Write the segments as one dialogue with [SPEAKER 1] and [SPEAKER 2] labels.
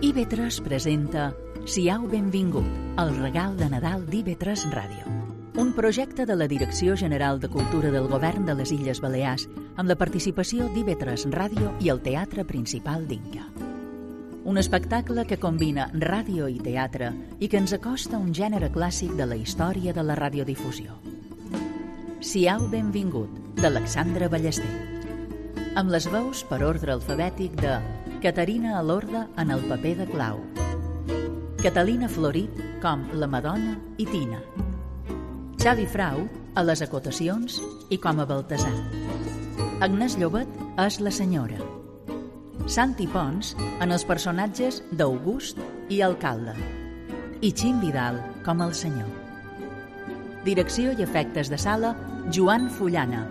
[SPEAKER 1] IB3 presenta Siau benvingut, el regal de Nadal d'IB3 Ràdio. Un projecte de la Direcció General de Cultura del Govern de les Illes Balears amb la participació d'IB3 Ràdio i el Teatre Principal d'Inca. Un espectacle que combina ràdio i teatre i que ens acosta a un gènere clàssic de la història de la radiodifusió. Siau benvingut, d'Alexandre Ballester. Amb les veus per ordre alfabètic de Caterina Alorda en el paper de Clau, Catalina Florit com la Madonna i Tina, Xavi Frau a les acotacions i com a Baltasar, Agnès Llobet és la senyora, Santi Pons en els personatges d'August i Alcalde i Xim Vidal com el senyor. Direcció i efectes de sala, Joan Fullana.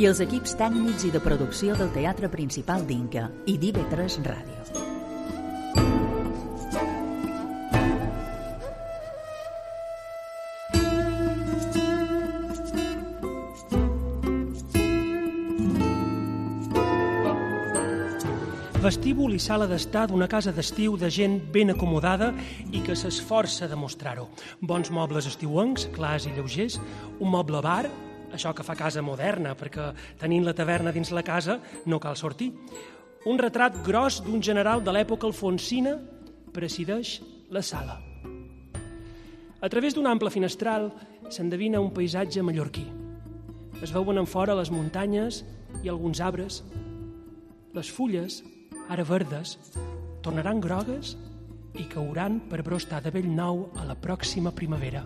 [SPEAKER 1] I els equips tècnics i de producció del Teatre Principal d'Inca i d'IV3 Ràdio.
[SPEAKER 2] vestíbul i sala d'estar d'una casa d'estiu de gent ben acomodada i que s'esforça a demostrar-ho. Bons mobles estiuencs, clars i lleugers, un moble bar, això que fa casa moderna, perquè tenint la taverna dins la casa no cal sortir. Un retrat gros d'un general de l'època alfonsina presideix la sala. A través d'un ample finestral s'endevina un paisatge mallorquí. Es veuen en fora les muntanyes i alguns arbres. Les fulles ara verdes, tornaran grogues i cauran per brostar de vell nou a la pròxima primavera.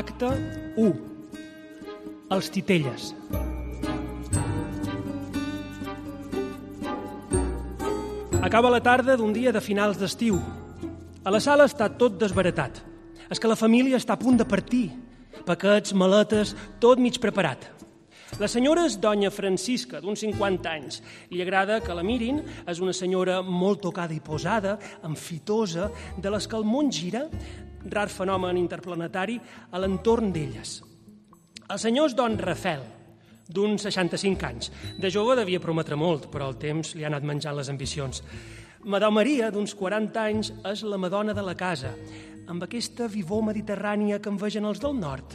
[SPEAKER 2] Acte 1. Els titelles. Acaba la tarda d'un dia de finals d'estiu. A la sala està tot desbaratat. És que la família està a punt de partir paquets, maletes, tot mig preparat. La senyora és doña Francisca, d'uns 50 anys. Li agrada que la mirin, és una senyora molt tocada i posada, enfitosa, de les que el món gira, rar fenomen interplanetari, a l'entorn d'elles. El senyor és don Rafel, d'uns 65 anys. De jove devia prometre molt, però el temps li ha anat menjant les ambicions. Madame Maria, d'uns 40 anys, és la madona de la casa amb aquesta vivor mediterrània que envegen els del nord.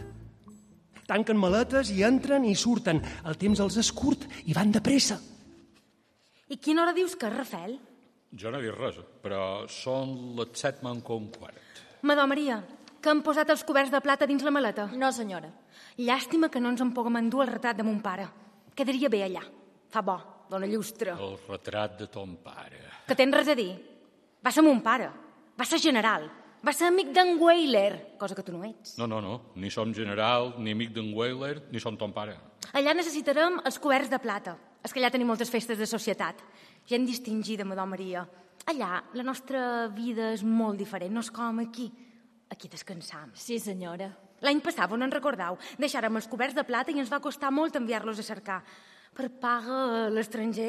[SPEAKER 2] Tanquen maletes i entren i surten. El temps els és curt i van de pressa.
[SPEAKER 3] I quina hora dius que és, Rafel?
[SPEAKER 4] Jo no he dit res, però són les set manco un quart.
[SPEAKER 3] Madó Maria, que han posat els coberts de plata dins la maleta.
[SPEAKER 5] No, senyora.
[SPEAKER 3] Llàstima que no ens en puguem endur el retrat de mon pare. Quedaria bé allà. Fa bo, dona llustre.
[SPEAKER 4] El retrat de ton pare.
[SPEAKER 3] Que tens res a dir. Va ser mon pare. Va ser general. Va ser amic d'en Weyler, cosa que tu no ets.
[SPEAKER 4] No, no, no. Ni som general, ni amic d'en Weyler, ni som ton pare.
[SPEAKER 3] Allà necessitarem els coberts de plata. És que allà tenim moltes festes de societat. Gent distingida, Madó Maria. Allà la nostra vida és molt diferent, no és com aquí. Aquí descansam.
[SPEAKER 5] Sí, senyora.
[SPEAKER 3] L'any passat, on en recordeu, deixàrem els coberts de plata i ens va costar molt enviar-los a cercar. Per paga, l'estranger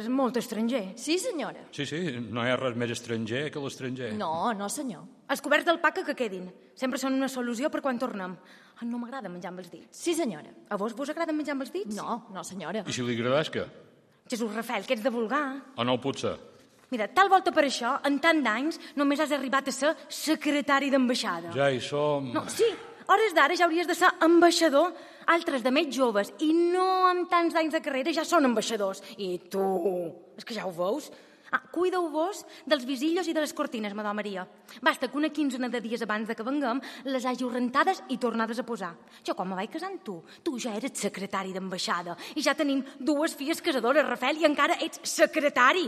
[SPEAKER 3] és molt estranger.
[SPEAKER 5] Sí, senyora.
[SPEAKER 4] Sí, sí, no hi ha res més estranger que l'estranger.
[SPEAKER 5] No, no, senyor.
[SPEAKER 3] Els coberts d'alpaca que quedin. Sempre són una solució per quan tornem. Ah, No m'agrada menjar amb els dits.
[SPEAKER 5] Sí, senyora.
[SPEAKER 3] A vos vos agrada menjar amb els dits?
[SPEAKER 5] No, no, senyora.
[SPEAKER 4] I si li agradàs que?
[SPEAKER 3] Jesús Rafel, que ets de vulgar.
[SPEAKER 4] O no ho pot ser?
[SPEAKER 3] Mira, tal volta per això, en tant d'anys, només has arribat a ser secretari d'ambaixada.
[SPEAKER 4] Ja hi som.
[SPEAKER 3] No, sí, hores d'ara ja hauries de ser ambaixador. Altres de més joves i no amb tants anys de carrera ja són ambaixadors. I tu... És que ja ho veus? Ah, cuideu-vos dels visillos i de les cortines, madó Maria. Basta que una quinzena de dies abans de que venguem les hagi rentades i tornades a posar. Jo quan me vaig casar amb tu, tu ja eres secretari d'ambaixada i ja tenim dues filles casadores, Rafel, i encara ets secretari.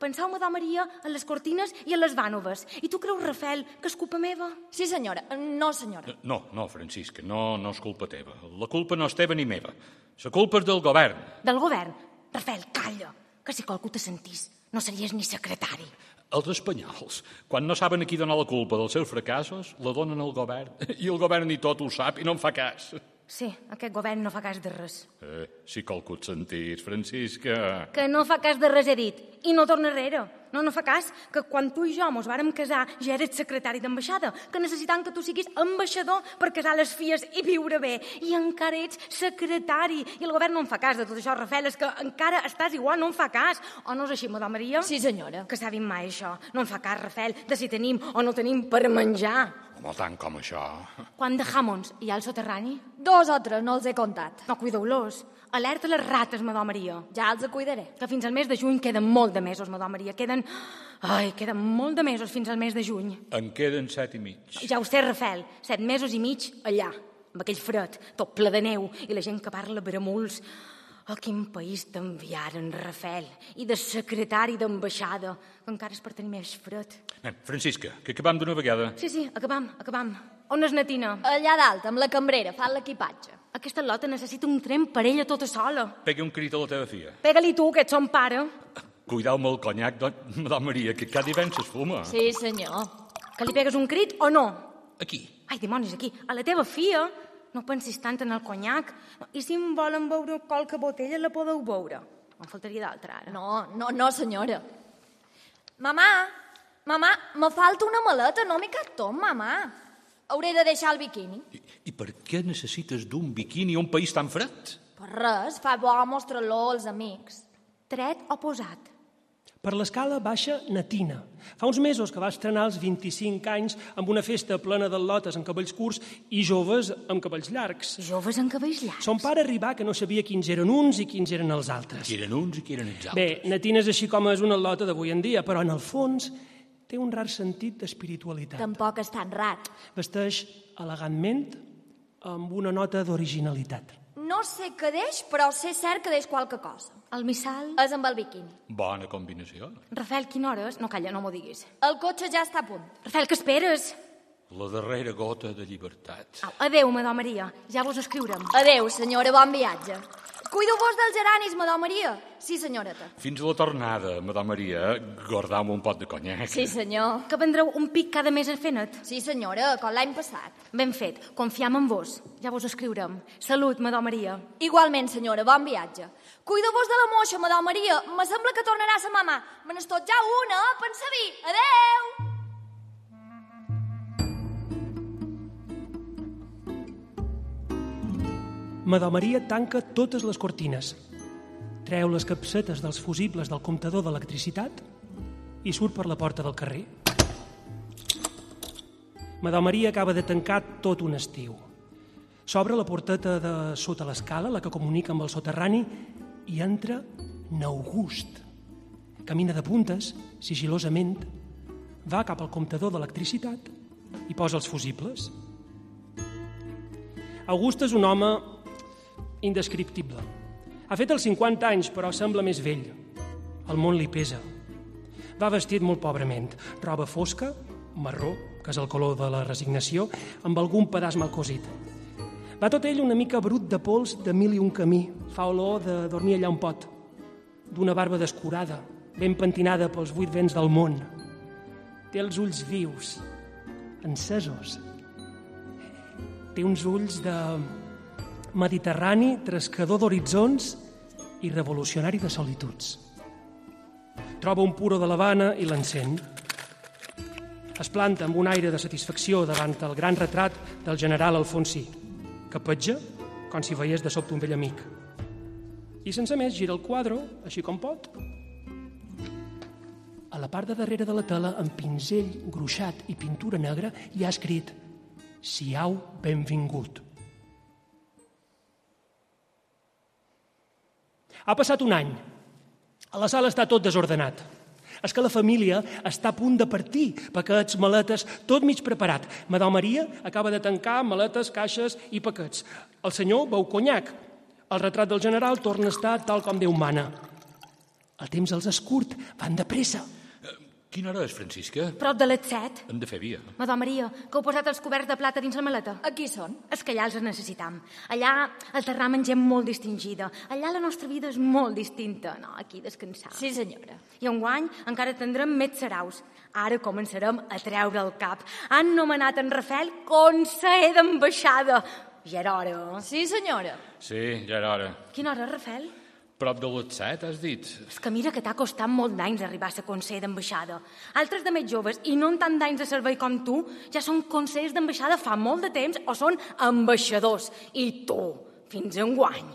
[SPEAKER 3] Pensau, madó Maria, en les cortines i en les vànoves. I tu creus, Rafel, que és culpa meva?
[SPEAKER 5] Sí, senyora. No, senyora.
[SPEAKER 4] No, no, Francisca, no, no és culpa teva. La culpa no és teva ni meva. La culpa és del govern.
[SPEAKER 3] Del govern. Rafael, calla, que si qualcú te sentís no series ni secretari.
[SPEAKER 4] Els espanyols, quan no saben a qui donar la culpa dels seus fracassos, la donen al govern. I el govern ni tot ho sap i no en fa cas.
[SPEAKER 3] Sí, aquest govern no fa cas de res.
[SPEAKER 4] Eh, Si que el que et sentís, Francisca...
[SPEAKER 3] Que no fa cas de res he dit. I no torna enrere. No, no fa cas que quan tu i jo mos vàrem casar ja eres secretari d'ambaixada, que necessitant que tu siguis ambaixador per casar les filles i viure bé. I encara ets secretari. I el govern no en fa cas de tot això, Rafel, és que encara estàs igual, no en fa cas. O no és així, madame Maria?
[SPEAKER 5] Sí, senyora.
[SPEAKER 3] Que s'ha dit mai això. No en fa cas, Rafel, de si tenim o no tenim per menjar.
[SPEAKER 4] Home, tant com això...
[SPEAKER 3] Quan de Hammonds hi ha al soterrani?
[SPEAKER 5] Dos o tres no els he contat.
[SPEAKER 3] No, cuideu-los. Alerta les rates, madame Maria.
[SPEAKER 5] Ja els cuidaré.
[SPEAKER 3] que fins al mes de juny queden molt de mesos, madame Maria. Queden... Ai, queden molt de mesos fins al mes de juny.
[SPEAKER 4] En queden set i mig.
[SPEAKER 3] Ja ho sé, Rafel, set mesos i mig allà, amb aquell fred, tot ple de neu, i la gent que parla bramuls. A quin país t'enviaren, Rafel, i de secretari d'ambaixada, que encara és per tenir més fred.
[SPEAKER 4] Nen, Francisca, que acabam d'una vegada.
[SPEAKER 3] Sí, sí, acabam, acabam. On és Natina?
[SPEAKER 5] Allà dalt, amb la cambrera, fan l'equipatge.
[SPEAKER 3] Aquesta lota necessita un tren per ella tota sola.
[SPEAKER 4] Pegui un crit a la teva filla.
[SPEAKER 3] Pega-li tu, que ets son pare.
[SPEAKER 4] Cuideu-me el conyac, don- madame Maria, que cada divendres es fuma.
[SPEAKER 5] Sí, senyor.
[SPEAKER 3] Que li pegues un crit o no?
[SPEAKER 4] Aquí.
[SPEAKER 3] Ai, dimonis, aquí, a la teva fia no pensis tant en el conyac. I si em volen veure qualque botella, la podeu veure. En faltaria d'altra, ara.
[SPEAKER 5] No, no, no, senyora. Mamà, mamà, me falta una maleta, no m'hi cap tot, mamà. Hauré de deixar el biquini.
[SPEAKER 4] I, I per què necessites d'un biquini a un país tan fred?
[SPEAKER 5] Per res, fa bo mostra-lo als amics.
[SPEAKER 3] Tret o posat?
[SPEAKER 2] Per l'escala baixa Natina. Fa uns mesos que va estrenar als 25 anys amb una festa plena d'atlotes amb cabells curts i joves amb cabells llargs.
[SPEAKER 3] Joves en cabells llargs.
[SPEAKER 2] Son pare arribà que no sabia quins eren uns i quins eren els altres.
[SPEAKER 4] Qui eren uns i qui eren els altres.
[SPEAKER 2] Bé, Natina és així com és una atlota d'avui en dia, però en el fons té un rar sentit d'espiritualitat.
[SPEAKER 5] Tampoc és tan rat.
[SPEAKER 2] Vesteix elegantment amb una nota d'originalitat.
[SPEAKER 5] No sé què deix, però sé cert que deix qualque cosa.
[SPEAKER 3] El missal...
[SPEAKER 5] És amb el biquini.
[SPEAKER 4] Bona combinació.
[SPEAKER 3] Rafel, quina hora és? No, calla, no m'ho diguis.
[SPEAKER 5] El cotxe ja està a punt.
[SPEAKER 3] Rafel, què esperes?
[SPEAKER 4] La darrera gota de llibertat.
[SPEAKER 3] Au, adeu, madò Maria. Ja vos escriurem.
[SPEAKER 5] Adeu, senyora, bon viatge. Cuido-vos dels geranis, madò Maria. Sí, senyoreta.
[SPEAKER 4] Fins a la tornada, madame Maria, guardam un pot de conyac.
[SPEAKER 5] Sí, senyor.
[SPEAKER 3] Que vendreu un pic cada mes a Fenet.
[SPEAKER 5] Sí, senyora, com l'any passat.
[SPEAKER 3] Ben fet. Confiam en vos. Ja vos escriurem. Salut, madò Maria.
[SPEAKER 5] Igualment, senyora, bon viatge. Cuido-vos de la moixa, madò Maria. Me sembla que tornarà sa mamà. Me n'és tot ja una, pensa vi. Adeu!
[SPEAKER 2] Madame Maria tanca totes les cortines, treu les capsetes dels fusibles del comptador d'electricitat i surt per la porta del carrer. Madame Maria acaba de tancar tot un estiu. S'obre la porteta de sota l'escala, la que comunica amb el soterrani, i entra n'August. Camina de puntes, sigilosament, va cap al comptador d'electricitat i posa els fusibles. August és un home indescriptible. Ha fet els 50 anys, però sembla més vell. El món li pesa. Va vestit molt pobrament. Roba fosca, marró, que és el color de la resignació, amb algun pedaç mal cosit. Va tot ell una mica brut de pols de mil i un camí. Fa olor de dormir allà on pot. D'una barba descurada, ben pentinada pels vuit vents del món. Té els ulls vius, encesos. Té uns ulls de mediterrani, trescador d'horitzons i revolucionari de solituds. Troba un puro de l'Havana i l'encén. Es planta amb un aire de satisfacció davant el gran retrat del general Alfonsí, que petja com si veiés de sobte un vell amic. I sense més gira el quadre, així com pot. A la part de darrere de la tela, amb pinzell gruixat i pintura negra, hi ha escrit «Siau benvingut». Ha passat un any. A la sala està tot desordenat. És que la família està a punt de partir, paquets, maletes, tot mig preparat. Madame Maria acaba de tancar maletes, caixes i paquets. El senyor beu conyac. El retrat del general torna a estar tal com Déu mana. El temps els és curt, van de pressa.
[SPEAKER 4] Quina hora és, Francisca?
[SPEAKER 3] Prop de les set.
[SPEAKER 4] Hem de fer via.
[SPEAKER 3] Madò Maria, que heu posat els coberts de plata dins la maleta.
[SPEAKER 5] Aquí són.
[SPEAKER 3] És que allà els necessitam. Allà el terram amb gent molt distingida. Allà la nostra vida és molt distinta. No, aquí descansar.
[SPEAKER 5] Sí, senyora.
[SPEAKER 3] I enguany encara tindrem més saraus. Ara començarem a treure el cap. Han nomenat en Rafel conseller d'ambaixada. Ja era hora.
[SPEAKER 5] Sí, senyora.
[SPEAKER 4] Sí, ja era hora.
[SPEAKER 3] Quina hora, Rafel?
[SPEAKER 4] Prop de les set, has dit?
[SPEAKER 3] És que mira que t'ha costat molt d'anys arribar a ser conseller d'ambaixada. Altres de més joves i no amb tant d'anys de servei com tu ja són consellers d'ambaixada fa molt de temps o són ambaixadors. I tu, fins en guany.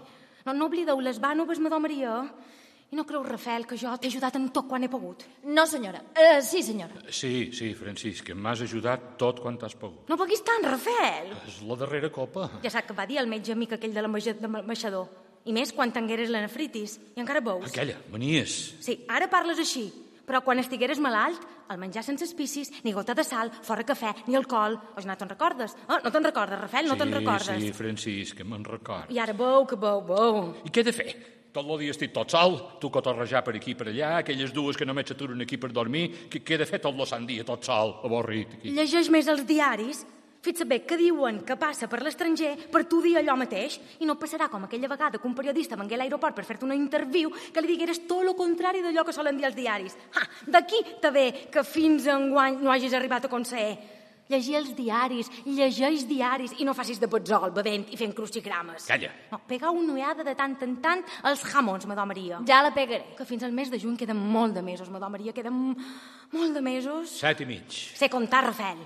[SPEAKER 3] No, no oblideu les bànoves, madó Maria. I no creus, Rafel, que jo t'he ajudat en tot quan he pogut.
[SPEAKER 5] No, senyora. Uh, sí, senyora.
[SPEAKER 4] Sí, sí, Francisc, que m'has ajudat tot quan t'has pogut.
[SPEAKER 3] No paguis tant, Rafel!
[SPEAKER 4] És la darrera copa.
[SPEAKER 3] Ja sap que va dir el metge amic aquell de l'ambaix- de l'ambaixador. I més quan tengueres la nefritis. I encara et veus.
[SPEAKER 4] Aquella, manies.
[SPEAKER 3] Sí, ara parles així. Però quan estigueres malalt, el menjar sense espicis, ni gota de sal, fora cafè, ni alcohol... O no te'n recordes? Oh, no te'n recordes, Rafel, no te'n recordes.
[SPEAKER 4] Sí, sí, Francisc, que me'n record.
[SPEAKER 3] I ara veu que veu, veu.
[SPEAKER 4] I què he de fer? Tot l'odi estic tot sol, tu cotorrejar per aquí i per allà, aquelles dues que només s'aturen aquí per dormir, què, què he de fer tot lo sant dia, tot sol, avorrit? Aquí?
[SPEAKER 3] Llegeix més els diaris, fes saber què diuen que passa per l'estranger per tu dir allò mateix i no passarà com aquella vegada que un periodista vengué a l'aeroport per fer-te una interview que li digueres tot lo contrari d'allò que solen dir els diaris. Ha, d'aquí te ve que fins enguany no hagis arribat a conseller. Llegir els diaris, llegeix diaris i no facis de potzol, bevent i fent crucigrames.
[SPEAKER 4] Calla.
[SPEAKER 3] No, pegar una ullada de tant en tant als jamons, madò Maria.
[SPEAKER 5] Ja la pegaré.
[SPEAKER 3] Que fins al mes de juny queden molt de mesos, madò Maria, queden molt de mesos.
[SPEAKER 4] Set i mig.
[SPEAKER 3] Sé comptar, Rafel.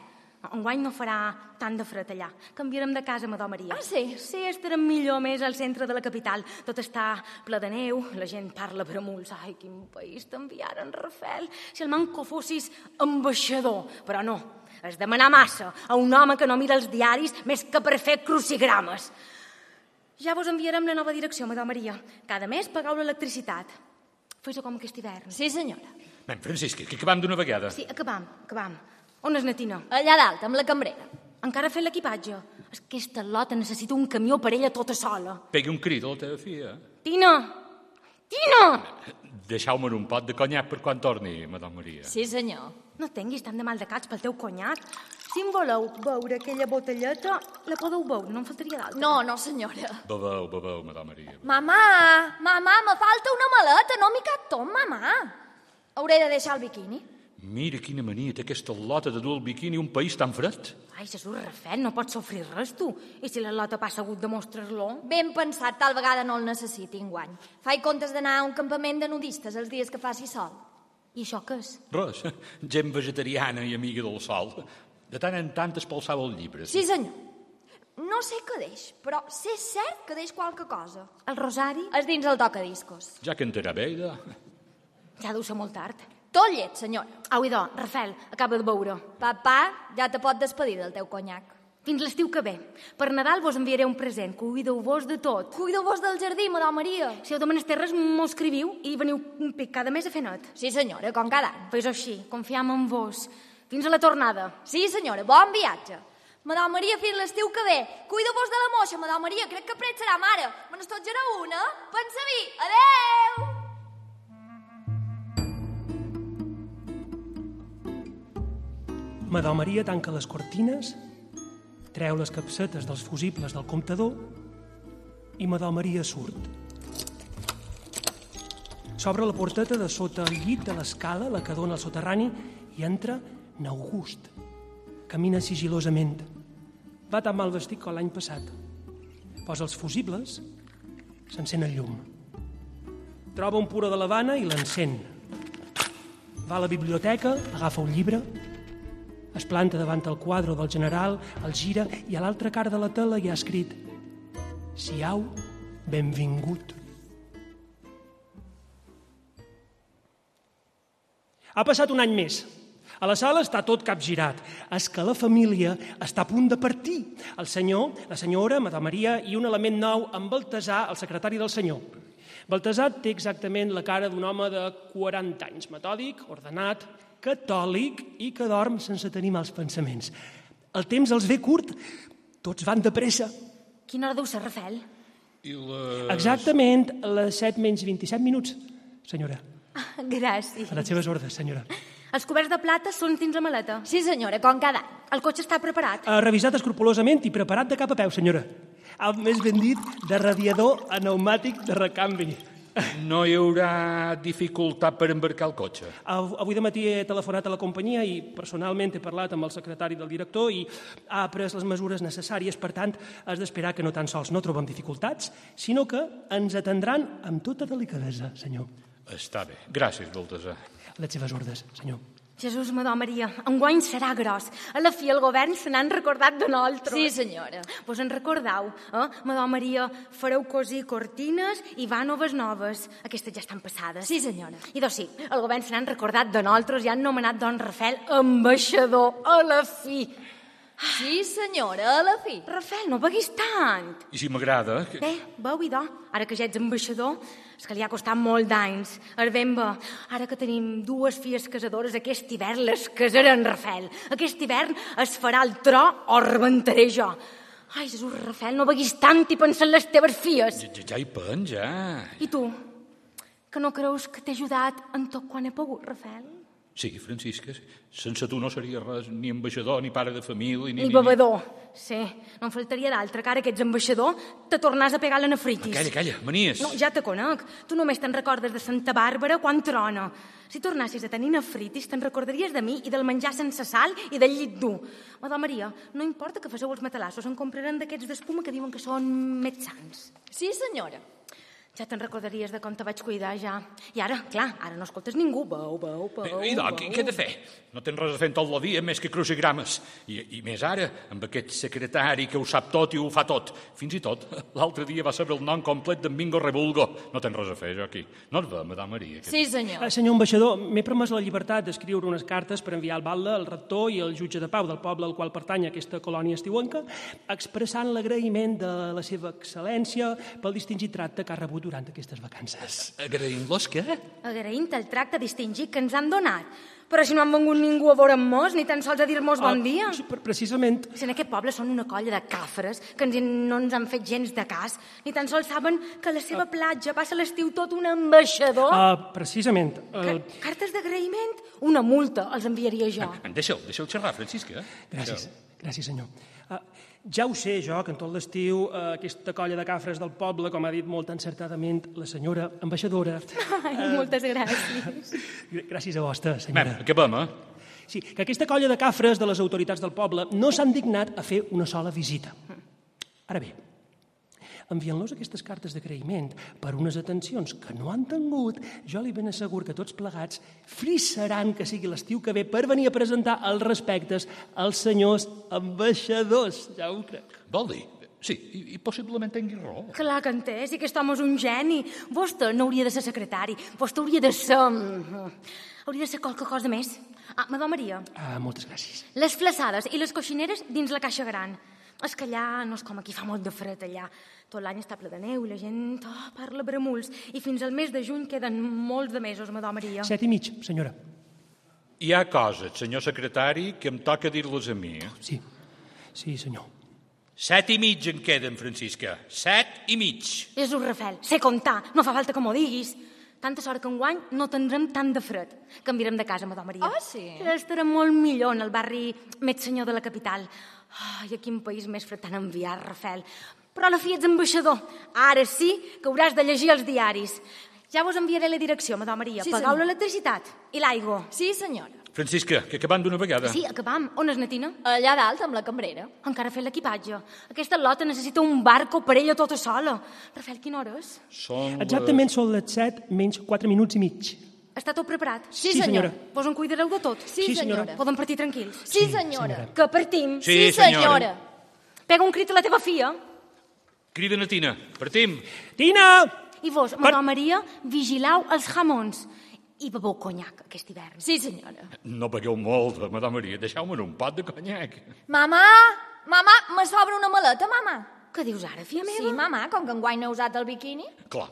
[SPEAKER 3] Enguany no farà tant de fred allà. Canviarem de casa, Madó Maria.
[SPEAKER 5] Ah, sí?
[SPEAKER 3] Sí, estarem millor més al centre de la capital. Tot està ple de neu, la gent parla per amuls. Ai, quin país t'enviaren, Rafel. Si el manco fossis ambaixador. Però no, has de manar massa a un home que no mira els diaris més que per fer crucigrames. Ja vos enviarem la nova direcció, Madó Maria. Cada mes pagueu l'electricitat. Fes-ho com aquest hivern.
[SPEAKER 5] Sí, senyora.
[SPEAKER 4] Nen, Francisc, que acabam d'una vegada.
[SPEAKER 3] Sí, acabam, acabam. On és Natina?
[SPEAKER 5] Allà dalt, amb la cambrera.
[SPEAKER 3] Encara fent l'equipatge. És que Aquesta lota necessita un camió per ella tota sola.
[SPEAKER 4] Pegui un crit a la teva filla.
[SPEAKER 3] Tina! Tina!
[SPEAKER 4] Deixeu-me un pot de conyac per quan torni, madame Maria.
[SPEAKER 5] Sí, senyor.
[SPEAKER 3] No tinguis tant de mal de caps pel teu conyat. Si en voleu veure aquella botelleta, la podeu veure, no en faltaria d'altra.
[SPEAKER 5] No, no, senyora.
[SPEAKER 4] Bebeu, bebeu, madame Maria.
[SPEAKER 5] Mamà, mamà, me falta una maleta, no m'hi cap tot, mamà. Hauré de deixar el biquini.
[SPEAKER 4] Mira quina mania té aquesta lota de dur el biquini a un país tan fred.
[SPEAKER 3] Ai, Jesús, Rafel, no pots sofrir res, tu. I si la lota passa hagut de mostrar-lo?
[SPEAKER 5] Ben pensat, tal vegada no el necessiti enguany. Faig comptes d'anar a un campament de nudistes els dies que faci sol.
[SPEAKER 3] I això què és?
[SPEAKER 4] Res, gent vegetariana i amiga del sol. De tant en tant espolsava el llibre.
[SPEAKER 5] Sí, senyor. No sé què deix, però sé cert que deix qualque cosa.
[SPEAKER 3] El rosari?
[SPEAKER 5] És dins el tocadiscos.
[SPEAKER 4] Ja cantarà bé, ja.
[SPEAKER 3] Ja deu ser molt tard.
[SPEAKER 5] Tot llet, senyora.
[SPEAKER 3] Au, idò, Rafel, acaba de veure.
[SPEAKER 5] Papà, ja te pot despedir del teu conyac.
[SPEAKER 3] Fins l'estiu que ve. Per Nadal vos enviaré un present. Cuideu-vos de tot.
[SPEAKER 5] Cuideu-vos del jardí, madame Maria.
[SPEAKER 3] Si heu de menester res, m'ho escriviu i veniu un pic cada mes a fer net.
[SPEAKER 5] Sí, senyora, com cada any.
[SPEAKER 3] Fes així, confiam en vos. Fins a la tornada.
[SPEAKER 5] Sí, senyora, bon viatge. Madame Maria, fins l'estiu que ve. Cuida-vos de la moixa, Madame Maria, crec que pret serà mare. Me n'estotjarà una? Pensa vi. Adeu!
[SPEAKER 2] Madó Maria tanca les cortines, treu les capsetes dels fusibles del comptador i Madó Maria surt. S'obre la porteta de sota el llit de l'escala, la que dona al soterrani, i entra n'August. Camina sigilosament. Va tan mal vestit com l'any passat. Posa els fusibles, s'encén el llum. Troba un puro de l'Havana i l'encén. Va a la biblioteca, agafa un llibre, es planta davant el quadre del general, el gira i a l'altra cara de la tela hi ha escrit Siau, benvingut. Ha passat un any més. A la sala està tot capgirat. És que la família està a punt de partir. El senyor, la senyora, Madame Maria i un element nou amb Baltasar, el secretari del senyor. Baltasar té exactament la cara d'un home de 40 anys, metòdic, ordenat, catòlic i que dorm sense tenir mals pensaments. El temps els ve curt, tots van de pressa.
[SPEAKER 3] Quina hora deu ser, Rafel?
[SPEAKER 4] I la...
[SPEAKER 2] Exactament a les 7 menys 27 minuts, senyora.
[SPEAKER 3] Gràcies.
[SPEAKER 2] A les seves ordres, senyora.
[SPEAKER 3] Els coberts de plata són dins la maleta.
[SPEAKER 5] Sí, senyora, com cada any.
[SPEAKER 3] El cotxe està preparat.
[SPEAKER 2] Ha revisat escrupolosament i preparat de cap a peu, senyora. El més ben dit, de radiador a pneumàtic de recanvi.
[SPEAKER 4] No hi haurà dificultat per embarcar el cotxe.
[SPEAKER 2] Av- Avui de matí he telefonat a la companyia i personalment he parlat amb el secretari del director i ha pres les mesures necessàries. Per tant, has d'esperar que no tan sols no trobem dificultats, sinó que ens atendran amb tota delicadesa, senyor.
[SPEAKER 4] Està bé. Gràcies, Baltasar.
[SPEAKER 2] A les seves ordres, senyor.
[SPEAKER 3] Jesús, madò Maria, enguany serà gros. A la fi el govern se n'han recordat de nosaltres.
[SPEAKER 5] Sí, senyora.
[SPEAKER 3] Vos en recordau, eh? Madò Maria, fareu cosir cortines i vànoves noves. Aquestes ja estan passades.
[SPEAKER 5] Sí, senyora.
[SPEAKER 3] I doncs sí, el govern se n'han recordat de nosaltres i han nomenat don Rafel ambaixador a la fi.
[SPEAKER 5] Sí, senyora, a la fi.
[SPEAKER 3] Rafel, no beguis tant.
[SPEAKER 4] I si m'agrada... Que...
[SPEAKER 3] Bé, veu, idò, ara que ja ets ambaixador, és que li ha costat molt d'anys. Arbemba, ara que tenim dues filles casadores, aquest hivern les casarà en Rafel. Aquest hivern es farà el tro o rebentaré jo. Ai, Jesús, Rafel, no beguis tant i pensa en les teves filles.
[SPEAKER 4] Ja, ja hi pen, ja.
[SPEAKER 3] I tu, que no creus que t'he ajudat en tot quan he pogut, Rafel?
[SPEAKER 4] Sí, Francisca, sí. sense tu no seria res, ni ambaixador, ni pare de família, ni...
[SPEAKER 3] Ni bevedor. Sí, no en faltaria d'altre, que ara que ets ambaixador te tornàs a pegar la nefritis.
[SPEAKER 4] Calla, calla, manies.
[SPEAKER 3] No, ja te conec. Tu només te'n recordes de Santa Bàrbara quan trona. Si tornassis a tenir nefritis, te'n recordaries de mi i del menjar sense sal i del llit dur. Madó Maria, no importa que faceu els matalassos, en compraran d'aquests d'espuma que diuen que són més sants.
[SPEAKER 5] Sí, senyora.
[SPEAKER 3] Ja te'n recordaries de com te vaig cuidar, ja. I ara, clar, ara no escoltes ningú. Veu, veu, veu,
[SPEAKER 4] I
[SPEAKER 3] veu.
[SPEAKER 4] doncs, què, què he de fer? No tens res a fer en tot la dia més que crucigrames. I, I més ara, amb aquest secretari que ho sap tot i ho fa tot. Fins i tot, l'altre dia va saber el nom complet d'en Bingo Rebulgo. No tens res a fer, jo, aquí. No et ve, madame Maria. Que...
[SPEAKER 5] Sí, senyor.
[SPEAKER 2] Eh, senyor ambaixador, m'he promès la llibertat d'escriure unes cartes per enviar al batlle, al rector i al jutge de pau del poble al qual pertany aquesta colònia estiuenca, expressant l'agraïment de la seva excel·lència pel distingit tracte que ha rebut durant aquestes vacances.
[SPEAKER 4] Agraïm-los, què?
[SPEAKER 3] Agraïm-te el tracte distingit que ens han donat. Però si no han vengut ningú a veure'm-mos, ni tan sols a dir-nos bon dia.
[SPEAKER 2] Ah, sí, pre- Precisament,
[SPEAKER 3] Si en aquest poble són una colla de càfres que ens, no ens han fet gens de cas, ni tan sols saben que a la seva platja passa l'estiu tot un ambaixador.
[SPEAKER 2] ah, precisament,
[SPEAKER 3] Ca
[SPEAKER 2] eh,
[SPEAKER 3] cartes d'agraïment? Una multa els enviaria jo.
[SPEAKER 4] Deixa'l, deixa'l Ah, xerrar, Francisca. eh?
[SPEAKER 2] Gràcies, gràcies senyor. Uh, ja ho sé jo, que en tot l'estiu uh, aquesta colla de cafres del poble, com ha dit molt encertadament la senyora ambaixadora...
[SPEAKER 3] Ai, moltes gràcies.
[SPEAKER 2] Gr- Gràcies a vostra,
[SPEAKER 4] Anem,
[SPEAKER 2] senyora.
[SPEAKER 4] acabem, eh?
[SPEAKER 2] Sí, que aquesta colla de cafres de les autoritats del poble no s'han dignat a fer una sola visita. Ara bé, enviant-los aquestes cartes d'agraïment per unes atencions que no han tingut, jo li ben assegur que tots plegats frissaran que sigui l'estiu que ve per venir a presentar els respectes als senyors ambaixadors, ja ho crec.
[SPEAKER 4] Vol dir? Sí, i, i possiblement tingui raó.
[SPEAKER 3] Clar que en té, si aquest home és un geni. Vostè no hauria de ser secretari, vostè hauria de ser... mm, Hauria de ser qualque cosa més. Ah, Madó Maria,
[SPEAKER 2] Ah, moltes gràcies.
[SPEAKER 3] Les flaçades i les coixineres dins la caixa gran. És que allà no és com aquí, fa molt de fred allà. Tot l'any està ple de neu i la gent oh, parla bremuls. I fins al mes de juny queden molts de mesos, madò Maria.
[SPEAKER 2] Set i mig, senyora.
[SPEAKER 4] Hi ha coses, senyor secretari, que em toca dir-les a mi.
[SPEAKER 2] Sí, sí, senyor.
[SPEAKER 4] Set i mig en queden, Francisca. Set i mig.
[SPEAKER 3] Jesús Rafel, sé comptar, no fa falta que m'ho diguis. Tanta sort que enguany no tindrem tant de fred. Canviarem de casa, madò Maria.
[SPEAKER 5] Ah, sí?
[SPEAKER 3] Estarà molt millor en el barri més senyor de la capital. Ai, a quin país més fred t'han enviat, Rafel. Però a la fi ets ambaixador. Ara sí que hauràs de llegir els diaris. Ja vos enviaré la direcció, madò Maria.
[SPEAKER 5] Sí,
[SPEAKER 3] Pagau
[SPEAKER 5] senyor.
[SPEAKER 3] l'electricitat i l'aigua.
[SPEAKER 5] Sí, senyora.
[SPEAKER 4] Francisca, que acabant d'una vegada.
[SPEAKER 3] Sí, acabam. On és Natina?
[SPEAKER 5] Allà dalt, amb la cambrera.
[SPEAKER 3] Encara fent l'equipatge. Aquesta lota necessita un barco per ella tota sola. Rafel, quina hora és?
[SPEAKER 4] Són les-
[SPEAKER 2] Exactament són les set menys quatre minuts i mig.
[SPEAKER 3] Està tot preparat?
[SPEAKER 2] Sí, senyora.
[SPEAKER 3] Vos en cuidareu de tot?
[SPEAKER 5] Sí,
[SPEAKER 2] Sí, senyora.
[SPEAKER 5] senyora.
[SPEAKER 3] Poden partir tranquils.
[SPEAKER 5] Sí, senyora.
[SPEAKER 3] Que partim.
[SPEAKER 4] Sí, senyora.
[SPEAKER 3] Pega un crit a la teva filla.
[SPEAKER 4] Crida na Tina. Partim.
[SPEAKER 2] Tina!
[SPEAKER 3] I vos, madó Maria, vigilau els jamons. I bebeu conyac aquest hivern.
[SPEAKER 5] Sí, senyora.
[SPEAKER 4] No begueu molt, madame Maria. Deixeu-me un pot de conyac.
[SPEAKER 5] Mamà! Mamà, me sobra una maleta, mamà.
[SPEAKER 3] Què dius ara, filla meva?
[SPEAKER 5] Sí, mamà, com que enguany no he usat el biquini.
[SPEAKER 4] Clar,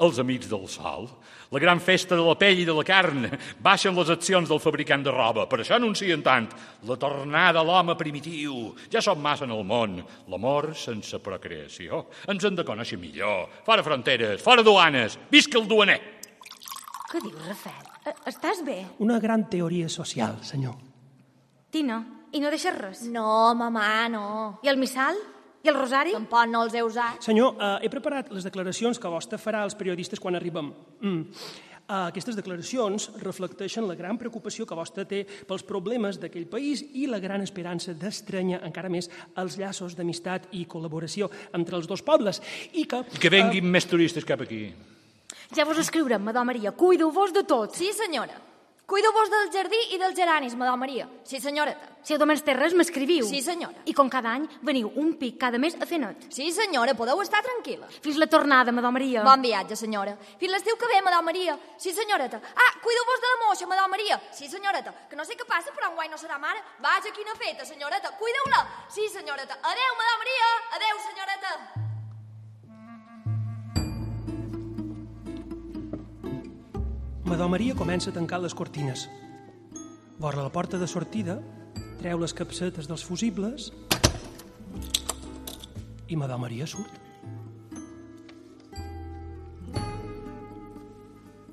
[SPEAKER 4] els amics del sol, la gran festa de la pell i de la carn, baixen les accions del fabricant de roba, per això anuncien tant la tornada a l'home primitiu. Ja som massa en el món, l'amor sense procreació. Ens hem de conèixer millor, fora fronteres, fora duanes, visca el duaner!
[SPEAKER 3] Què dius, Rafel? Eh, Estàs bé?
[SPEAKER 2] Una gran teoria social, senyor.
[SPEAKER 3] Tina, i no deixes res.
[SPEAKER 5] No, mamà, no.
[SPEAKER 3] I el missal? I el rosari?
[SPEAKER 5] Tampoc no els he usat.
[SPEAKER 2] Senyor, eh, he preparat les declaracions que vostè farà als periodistes quan arribem. Mm. Eh, aquestes declaracions reflecteixen la gran preocupació que vostè té pels problemes d'aquell país i la gran esperança d'estranyar encara més els llaços d'amistat i col·laboració entre els dos pobles i que...
[SPEAKER 4] I que venguin més turistes cap aquí.
[SPEAKER 3] Ja vos escriurem, Madó Maria. Cuideu-vos de tots.
[SPEAKER 5] Sí, senyora. Cuideu-vos del jardí i dels geranis, madame Maria. Sí, senyoreta.
[SPEAKER 3] Si heu de menys terres, m'escriviu.
[SPEAKER 5] Sí, senyora.
[SPEAKER 3] I com cada any, veniu un pic cada mes a fer net.
[SPEAKER 5] Sí, senyora, podeu estar tranquil·la.
[SPEAKER 3] Fins la tornada, Madó Maria.
[SPEAKER 5] Bon viatge, senyora. Fins l'estiu que ve, madame Maria. Sí, senyoreta. Ah, cuideu-vos de la moixa, madame Maria. Sí, senyoreta. Que no sé què passa, però enguany no serà mare. Vaja, quina feta, senyoreta. Cuideu-la. Sí, senyoreta. Adeu, madame Maria. Adeu, senyoreta.
[SPEAKER 2] Madó Maria comença a tancar les cortines. Vora la porta de sortida, treu les capsetes dels fusibles i Madó Maria surt.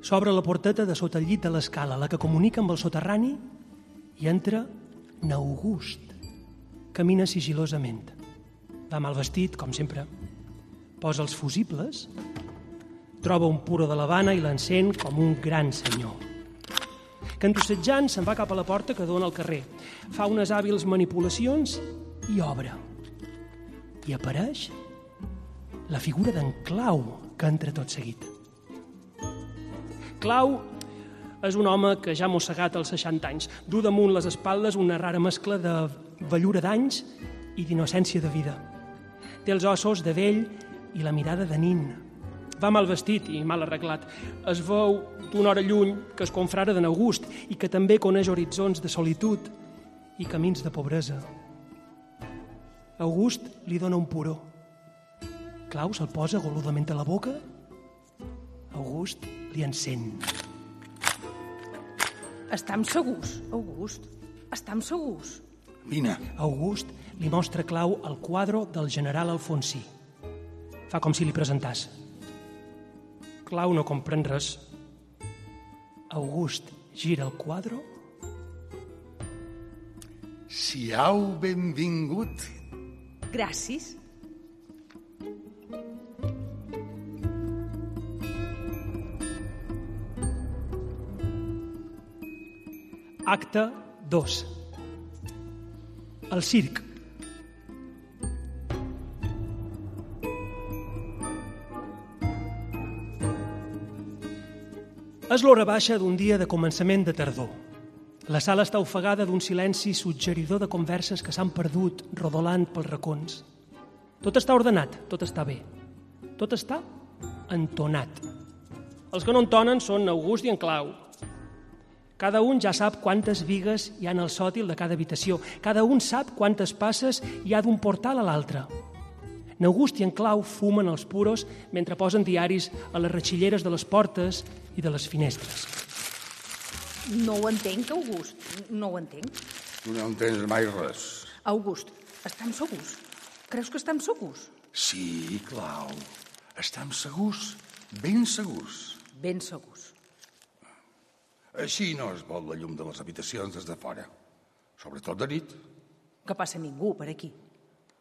[SPEAKER 2] S'obre la porteta de sota el llit de l'escala, la que comunica amb el soterrani, i entra n'August. Camina sigilosament. Va mal vestit, com sempre. Posa els fusibles troba un puro de l'Havana i l'encén com un gran senyor. Cantussejant, se'n va cap a la porta que dona al carrer. Fa unes hàbils manipulacions i obre. I apareix la figura d'en Clau, que entra tot seguit. Clau és un home que ja ha mossegat als 60 anys. Du damunt les espatlles una rara mescla de vellura d'anys i d'innocència de vida. Té els ossos de vell i la mirada de nin, va mal vestit i mal arreglat. Es veu d'una hora lluny que es confrara d'en August i que també coneix horitzons de solitud i camins de pobresa. August li dona un puró. Clau se'l posa goludament a la boca. August li encén.
[SPEAKER 6] Estam segurs, August. Estam segurs.
[SPEAKER 7] Vine.
[SPEAKER 2] August li mostra a Clau el quadre del general Alfonsí. Fa com si li presentàs. Clau no comprèn res. August gira el quadro.
[SPEAKER 7] Siau benvingut.
[SPEAKER 6] Gràcies.
[SPEAKER 2] Acte 2. El circ. És l'hora baixa d'un dia de començament de tardor. La sala està ofegada d'un silenci suggeridor de converses que s'han perdut rodolant pels racons. Tot està ordenat, tot està bé. Tot està entonat. Els que no entonen són August i en Clau. Cada un ja sap quantes vigues hi ha en el sòtil de cada habitació. Cada un sap quantes passes hi ha d'un portal a l'altre. N'August i en Clau fumen els puros mentre posen diaris a les ratxilleres de les portes i de les finestres.
[SPEAKER 6] No ho entenc, August. No ho entenc.
[SPEAKER 7] Tu no entens mai res.
[SPEAKER 6] August, estam segurs. Creus que estam segurs?
[SPEAKER 7] Sí, Clau. Estem segurs, ben segurs.
[SPEAKER 6] Ben segurs.
[SPEAKER 7] Així no es vol la llum de les habitacions des de fora. Sobretot de nit.
[SPEAKER 6] Que passa ningú per aquí.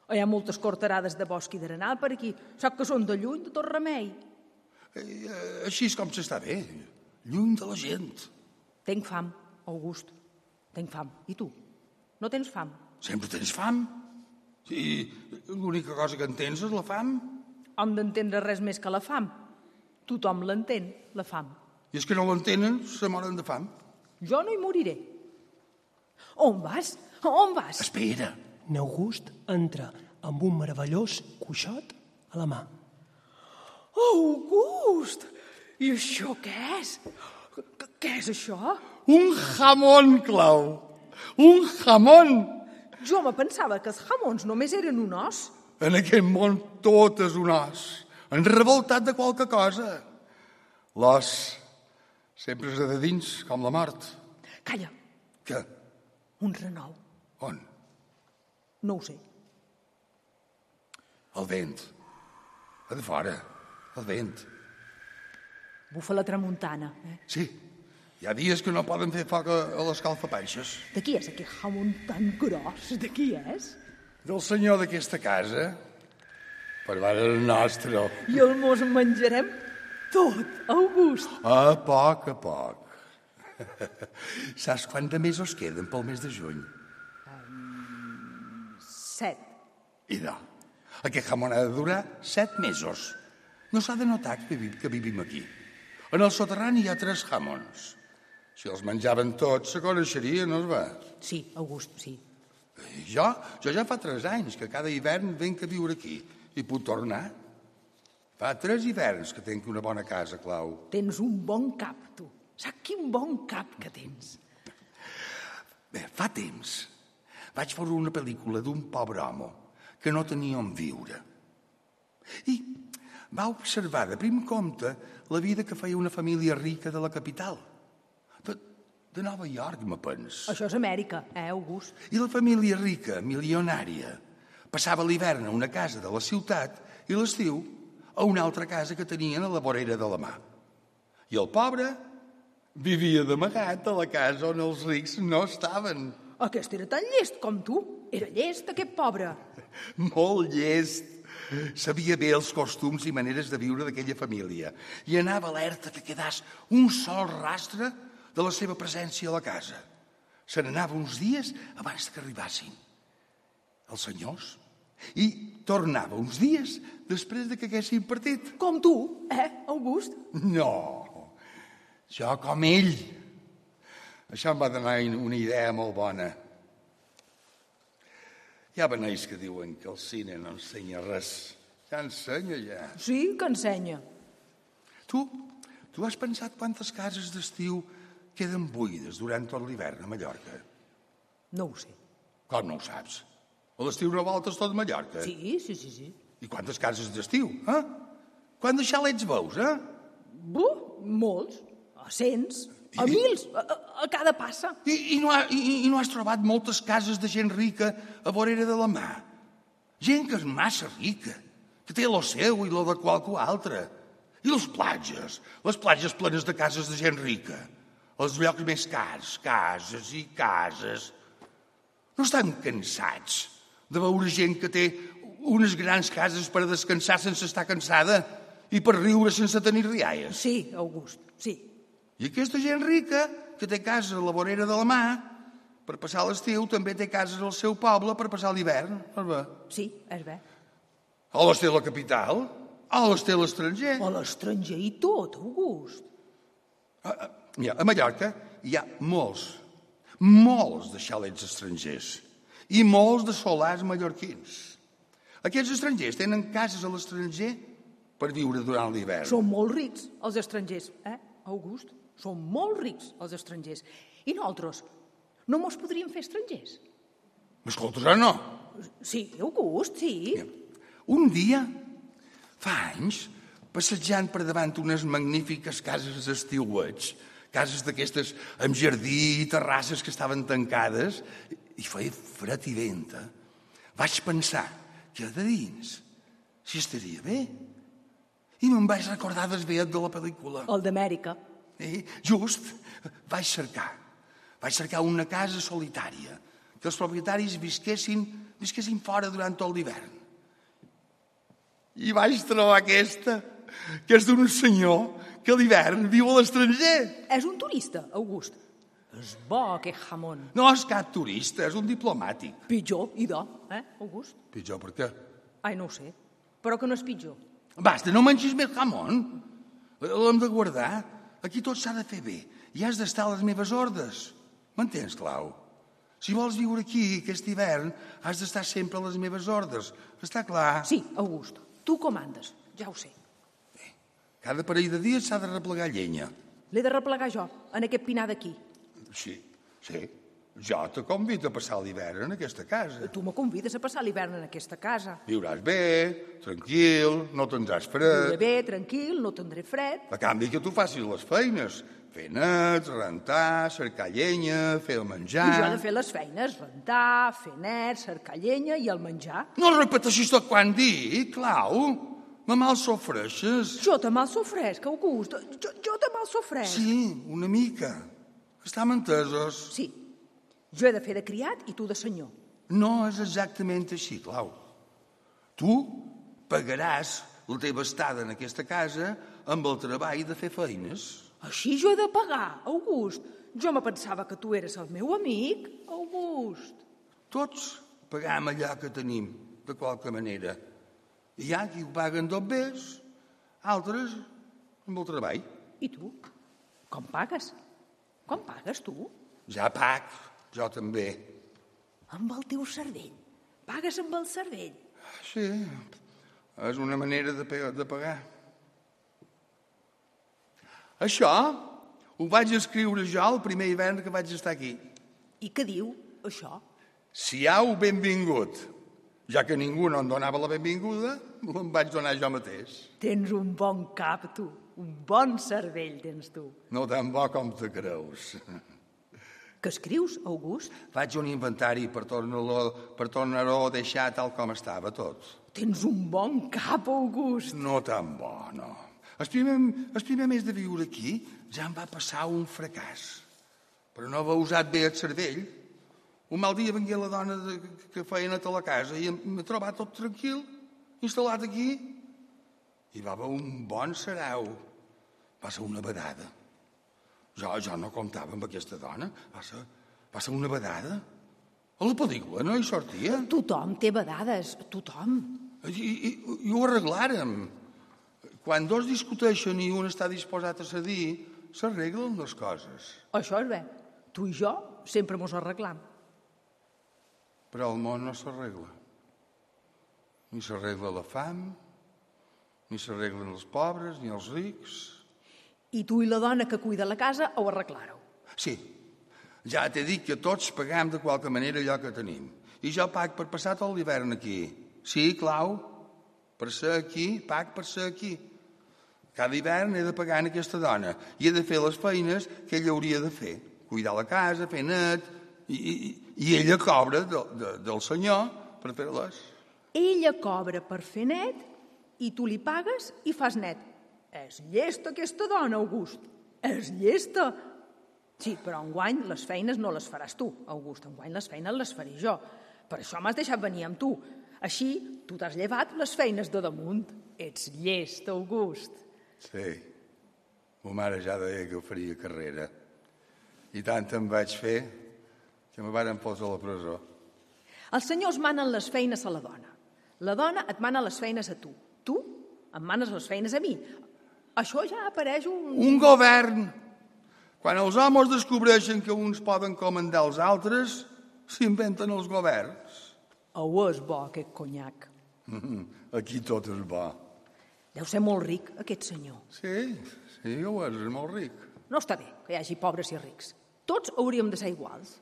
[SPEAKER 6] O hi ha moltes corterades de bosc i d'arenal per aquí. Sóc que són de lluny, de tot remei.
[SPEAKER 7] Eh, Així és com s'està bé. Lluny de la gent.
[SPEAKER 6] Tenc fam, August. Tenc fam. I tu? No tens fam?
[SPEAKER 7] Sempre tens fam. I l'única cosa que entens és la fam.
[SPEAKER 6] Hem d'entendre res més que la fam. Tothom l'entén, la fam.
[SPEAKER 7] I és que no l'entenen, se moren de fam.
[SPEAKER 6] Jo no hi moriré. On vas? On vas?
[SPEAKER 7] Espera.
[SPEAKER 2] N'August entra amb un meravellós cuixot a la mà.
[SPEAKER 6] August! I això què és? Qu- Què és això?
[SPEAKER 7] Un jamón, Clau. Un jamón.
[SPEAKER 6] Jo me pensava que els jamons només eren un os.
[SPEAKER 7] En aquest món tot és un os. Han revoltat de qualque cosa. L'os sempre és de dins, com la mort.
[SPEAKER 6] Calla,
[SPEAKER 7] Què?
[SPEAKER 6] un renou.
[SPEAKER 7] On?
[SPEAKER 6] No ho sé.
[SPEAKER 7] El vent. A de fora. El vent.
[SPEAKER 6] Bufa la tramuntana. Eh?
[SPEAKER 7] Sí. Hi ha dies que no poden fer foc a, a l'escalfapanxes.
[SPEAKER 6] De qui és aquest jamon tan gros? De qui és?
[SPEAKER 7] Del senyor d'aquesta casa, Per mare del nostre.
[SPEAKER 6] I el mos en menjarem tot, August.
[SPEAKER 7] A poc a poc. Saps quant de mesos queden pel mes de juny?
[SPEAKER 6] Set.
[SPEAKER 7] I de, aquest jamón ha de durar set mesos. No s'ha de notar que vivim, que vivim aquí. En el soterrani hi ha tres jamons. Si els menjaven tots, se coneixerien, no es va?
[SPEAKER 6] Sí, August, sí.
[SPEAKER 7] I jo, jo ja fa tres anys que cada hivern venc a viure aquí. I puc tornar? Fa tres hiverns que tenc una bona casa, Clau.
[SPEAKER 6] Tens un bon cap, tu. Saps quin bon cap que tens?
[SPEAKER 7] Bé, fa temps vaig veure una pel·lícula d'un pobre home que no tenia on viure. I va observar de prim compte la vida que feia una família rica de la capital. De, de Nova York, me pens.
[SPEAKER 6] Això és Amèrica, eh, August?
[SPEAKER 7] I la família rica, milionària, passava l'hivern a una casa de la ciutat i l'estiu a una altra casa que tenien a la vorera de la mà. I el pobre vivia d'amagat a la casa on els rics no estaven.
[SPEAKER 6] Aquest era tan llest com tu. Era llest, aquest pobre.
[SPEAKER 7] Molt llest. Sabia bé els costums i maneres de viure d'aquella família i anava alerta que quedàs un sol rastre de la seva presència a la casa. Se n'anava uns dies abans que arribassin els senyors i tornava uns dies després de que haguessin partit.
[SPEAKER 6] Com tu, eh, August?
[SPEAKER 7] No, jo com ell. Això em va donar una idea molt bona. Hi ha beneis que diuen que el cine no ensenya res. Ja ensenya, ja.
[SPEAKER 6] Sí, que ensenya.
[SPEAKER 7] Tu, tu has pensat quantes cases d'estiu queden buides durant tot l'hivern a Mallorca?
[SPEAKER 6] No ho sé.
[SPEAKER 7] Com no ho saps? A l'estiu no voltes tot Mallorca?
[SPEAKER 6] Sí, sí, sí, sí.
[SPEAKER 7] I quantes cases d'estiu, eh? Quants xalets veus, eh?
[SPEAKER 6] Buh, molts. A cents. A
[SPEAKER 7] I-
[SPEAKER 6] mils. A, a- a cada passa.
[SPEAKER 7] I, i, no ha, i, i no has trobat moltes cases de gent rica a vorera de la mà? Gent que és massa rica, que té lo seu i lo de qualcú altre. I les platges, les platges plenes de cases de gent rica. Els llocs més cars, cases i cases. No estan cansats de veure gent que té unes grans cases per descansar sense estar cansada i per riure sense tenir rialles.
[SPEAKER 6] Sí, August, sí.
[SPEAKER 7] I aquesta gent rica, que té cases a la vorera de la mà, per passar l'estiu també té cases al seu poble per passar l'hivern. no és bé?
[SPEAKER 6] Sí, és bé.
[SPEAKER 7] O les té la capital, o les té l'estranger.
[SPEAKER 6] A l'estranger i tot, August.
[SPEAKER 7] A, a, mira, a Mallorca hi ha molts, molts de xalets estrangers i molts de solars mallorquins. Aquests estrangers tenen cases a l'estranger per viure durant l'hivern.
[SPEAKER 6] Són molt rics, els estrangers, eh, August? Són molt rics, els estrangers. I nosaltres? No mos podríem fer estrangers?
[SPEAKER 7] M'escoltes o no?
[SPEAKER 6] Sí, August, sí.
[SPEAKER 7] Mira, Un dia, fa anys, passejant per davant unes magnífiques cases d'estiuets, cases d'aquestes amb jardí i terrasses que estaven tancades, i feia fred i venta, vaig pensar que de dins si estaria bé. I me'n vaig recordar desviat de la pel·lícula.
[SPEAKER 6] El d'Amèrica.
[SPEAKER 7] I just vaig cercar. Vaig cercar una casa solitària, que els propietaris visquessin, visquessin fora durant tot l'hivern. I vaig trobar aquesta, que és d'un senyor que a l'hivern viu a l'estranger.
[SPEAKER 6] És un turista, August. És bo, aquest jamón.
[SPEAKER 7] No és cap turista, és un diplomàtic.
[SPEAKER 6] Pitjor, i de, eh, August?
[SPEAKER 7] Pitjor per què?
[SPEAKER 6] Ai, no ho sé. Però que no és pitjor.
[SPEAKER 7] Basta, no mengis més jamón. L'hem de guardar. Aquí tot s'ha de fer bé. I has d'estar a les meves ordres. M'entens, Clau? Si vols viure aquí aquest hivern, has d'estar sempre a les meves ordres. Està clar?
[SPEAKER 6] Sí, August, tu comandes, ja ho sé.
[SPEAKER 7] Cada parell de dies s'ha de replegar llenya.
[SPEAKER 6] L'he de replegar jo, en aquest pinar d'aquí.
[SPEAKER 7] Sí, sí. Jo te convido a passar l'hivern en aquesta casa.
[SPEAKER 6] Tu me convides a passar l'hivern en aquesta casa.
[SPEAKER 7] Viuràs bé, tranquil, no tindràs fred.
[SPEAKER 6] Viuré bé, tranquil, no tindré fred.
[SPEAKER 7] A canvi que tu facis les feines. Fer nets, rentar, cercar llenya, fer el menjar...
[SPEAKER 6] I jo he de fer les feines, rentar, fer net, cercar llenya i el menjar.
[SPEAKER 7] No repeteixis tot quan dic, Clau. Me mal s'ofreixes.
[SPEAKER 6] Jo te mal sofresc, August. Jo, jo te mal sofresc.
[SPEAKER 7] Sí, una mica. Estam entesos.
[SPEAKER 6] sí. Jo he de fer de criat i tu de senyor.
[SPEAKER 7] No és exactament així, Clau. Tu Pagaràs la teva estada en aquesta casa amb el treball de fer feines.
[SPEAKER 1] Així jo he de pagar, August. Jo me pensava que tu eres el meu amic, August.
[SPEAKER 7] Tots pagam allò que tenim, de qualque manera. Hi ha qui ho paguen dos bés, altres amb el treball.
[SPEAKER 1] I tu? Com pagues? Com pagues tu?
[SPEAKER 7] Ja pac, jo també.
[SPEAKER 1] Amb el teu cervell. Pagues amb el cervell.
[SPEAKER 7] Sí, és una manera de, pe- de pagar. Això ho vaig escriure jo el primer hivern que vaig estar aquí.
[SPEAKER 1] I què diu, això?
[SPEAKER 7] Siau benvingut. Ja que ningú no em donava la benvinguda, em vaig donar jo mateix.
[SPEAKER 1] Tens un bon cap, tu. Un bon cervell tens tu.
[SPEAKER 7] No tan bo com te creus.
[SPEAKER 1] Que escrius, August?
[SPEAKER 7] Faig un inventari per tornar-lo per tornar a deixar tal com estava tot.
[SPEAKER 1] Tens un bon cap, August.
[SPEAKER 7] No tan bo, no. El primer, el primer mes de viure aquí ja em va passar un fracàs. Però no va usat bé el cervell. Un mal dia vengué la dona de, que feia net a tota la casa i em- m'he trobat tot tranquil, instal·lat aquí. Hi va haver un bon sarau. Va ser una vedada. Jo, jo no comptava amb aquesta dona. Va ser, va ser una vedada. A la pel·lícula no hi sortia.
[SPEAKER 1] Tothom té vedades, tothom.
[SPEAKER 7] I, i, i ho arreglàrem. Quan dos discuteixen i un està disposat a cedir, s'arreglen les coses.
[SPEAKER 1] Això és bé. Tu i jo sempre mos arreglam.
[SPEAKER 7] Però el món no s'arregla. Ni s'arregla la fam, ni s'arreglen els pobres, ni els rics.
[SPEAKER 1] I tu i la dona que cuida la casa ho arreglàreu.
[SPEAKER 7] Sí, ja t'he dit que tots pagam de qualque manera allò que tenim. I jo pac per passar tot l'hivern aquí. Sí, Clau, per ser aquí, pac per ser aquí. Cada hivern he de pagar en aquesta dona i he de fer les feines que ella hauria de fer. Cuidar la casa, fer net, i, i, i ella cobra de, de, del senyor per fer-les.
[SPEAKER 1] Ella cobra per fer net i tu li pagues i fas net. És llesta aquesta dona, August. És llesta. Sí, però enguany les feines no les faràs tu, August. Enguany les feines les faré jo. Per això m'has deixat venir amb tu. Així, tu t'has llevat les feines de damunt. Ets llest, August.
[SPEAKER 7] Sí, ma mare ja deia que ho faria carrera. I tant em vaig fer que me varen posar a la presó.
[SPEAKER 1] Els senyors manen les feines a la dona. La dona et mana les feines a tu. Tu em manes les feines a mi. Això ja apareix un...
[SPEAKER 7] un govern. Quan els homes descobreixen que uns poden comandar els altres, s'inventen els governs.
[SPEAKER 1] Oh, és bo aquest conyac.
[SPEAKER 7] Aquí tot és bo.
[SPEAKER 1] Deu ser molt ric, aquest senyor.
[SPEAKER 7] Sí, sí, ho és, és molt ric.
[SPEAKER 1] No està bé que hi hagi pobres i rics. Tots hauríem de ser iguals.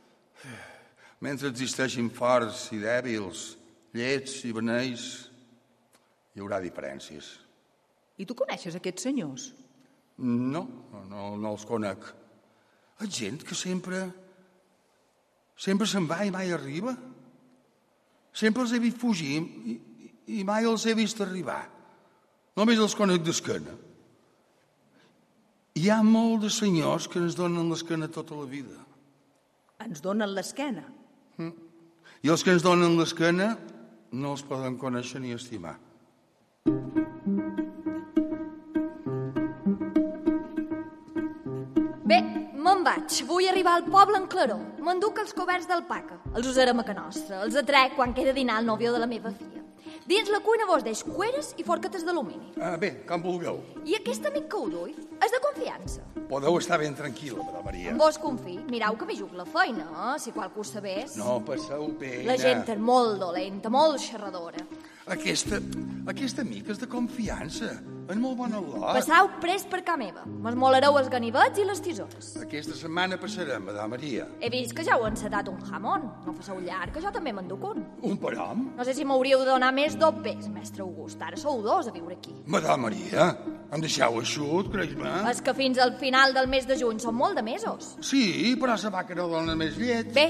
[SPEAKER 7] Mentre existeixin forts i dèbils, llets i beneis, hi haurà diferències.
[SPEAKER 1] I tu coneixes aquests senyors?
[SPEAKER 7] No, no, no, no els conec. És gent que sempre... Sempre se'n va i mai arriba. Sempre els he vist fugir i, i, i mai els he vist arribar. Només els conec d'esquena. Hi ha molt de senyors que ens donen l'esquena tota la vida.
[SPEAKER 1] Ens donen l'esquena.
[SPEAKER 7] I els que ens donen l'esquena no els poden conèixer ni estimar.
[SPEAKER 5] Bé, me'n vaig. Vull arribar al poble en claror. M'enduc els coberts d'alpaca. Els usarem a que nostra. Els atrec quan queda dinar el nòvio de la meva filla. Dins la cuina vos deix cueres i forquetes d'alumini.
[SPEAKER 7] Ah, bé, com vulgueu.
[SPEAKER 5] I aquest amic que ho dui és de confiança.
[SPEAKER 7] Podeu estar ben tranquil·la, Mare Maria.
[SPEAKER 5] En vos confi, mirau que m'hi juc la feina, eh? si qualcú ho sabés.
[SPEAKER 7] No, passeu bé.
[SPEAKER 5] La gent és molt dolenta, molt xerradora.
[SPEAKER 7] Aquesta, aquesta mica és de confiança. És molt bona olor.
[SPEAKER 5] Passau pres per ca meva. M'esmolareu els ganivets i les tisores.
[SPEAKER 7] Aquesta setmana passarem, Madame Maria.
[SPEAKER 5] He vist que ja heu encetat un jamón. No faceu llarg, que jo també m'enduc un.
[SPEAKER 7] Un param?
[SPEAKER 5] No sé si m'hauríeu de donar més dos pes, mestre August. Ara sou dos a viure aquí.
[SPEAKER 7] Madame Maria, em deixeu eixut, creix-me.
[SPEAKER 5] És que fins al final del mes de juny són molt de mesos.
[SPEAKER 7] Sí, però se va que no dona més llet.
[SPEAKER 5] Bé,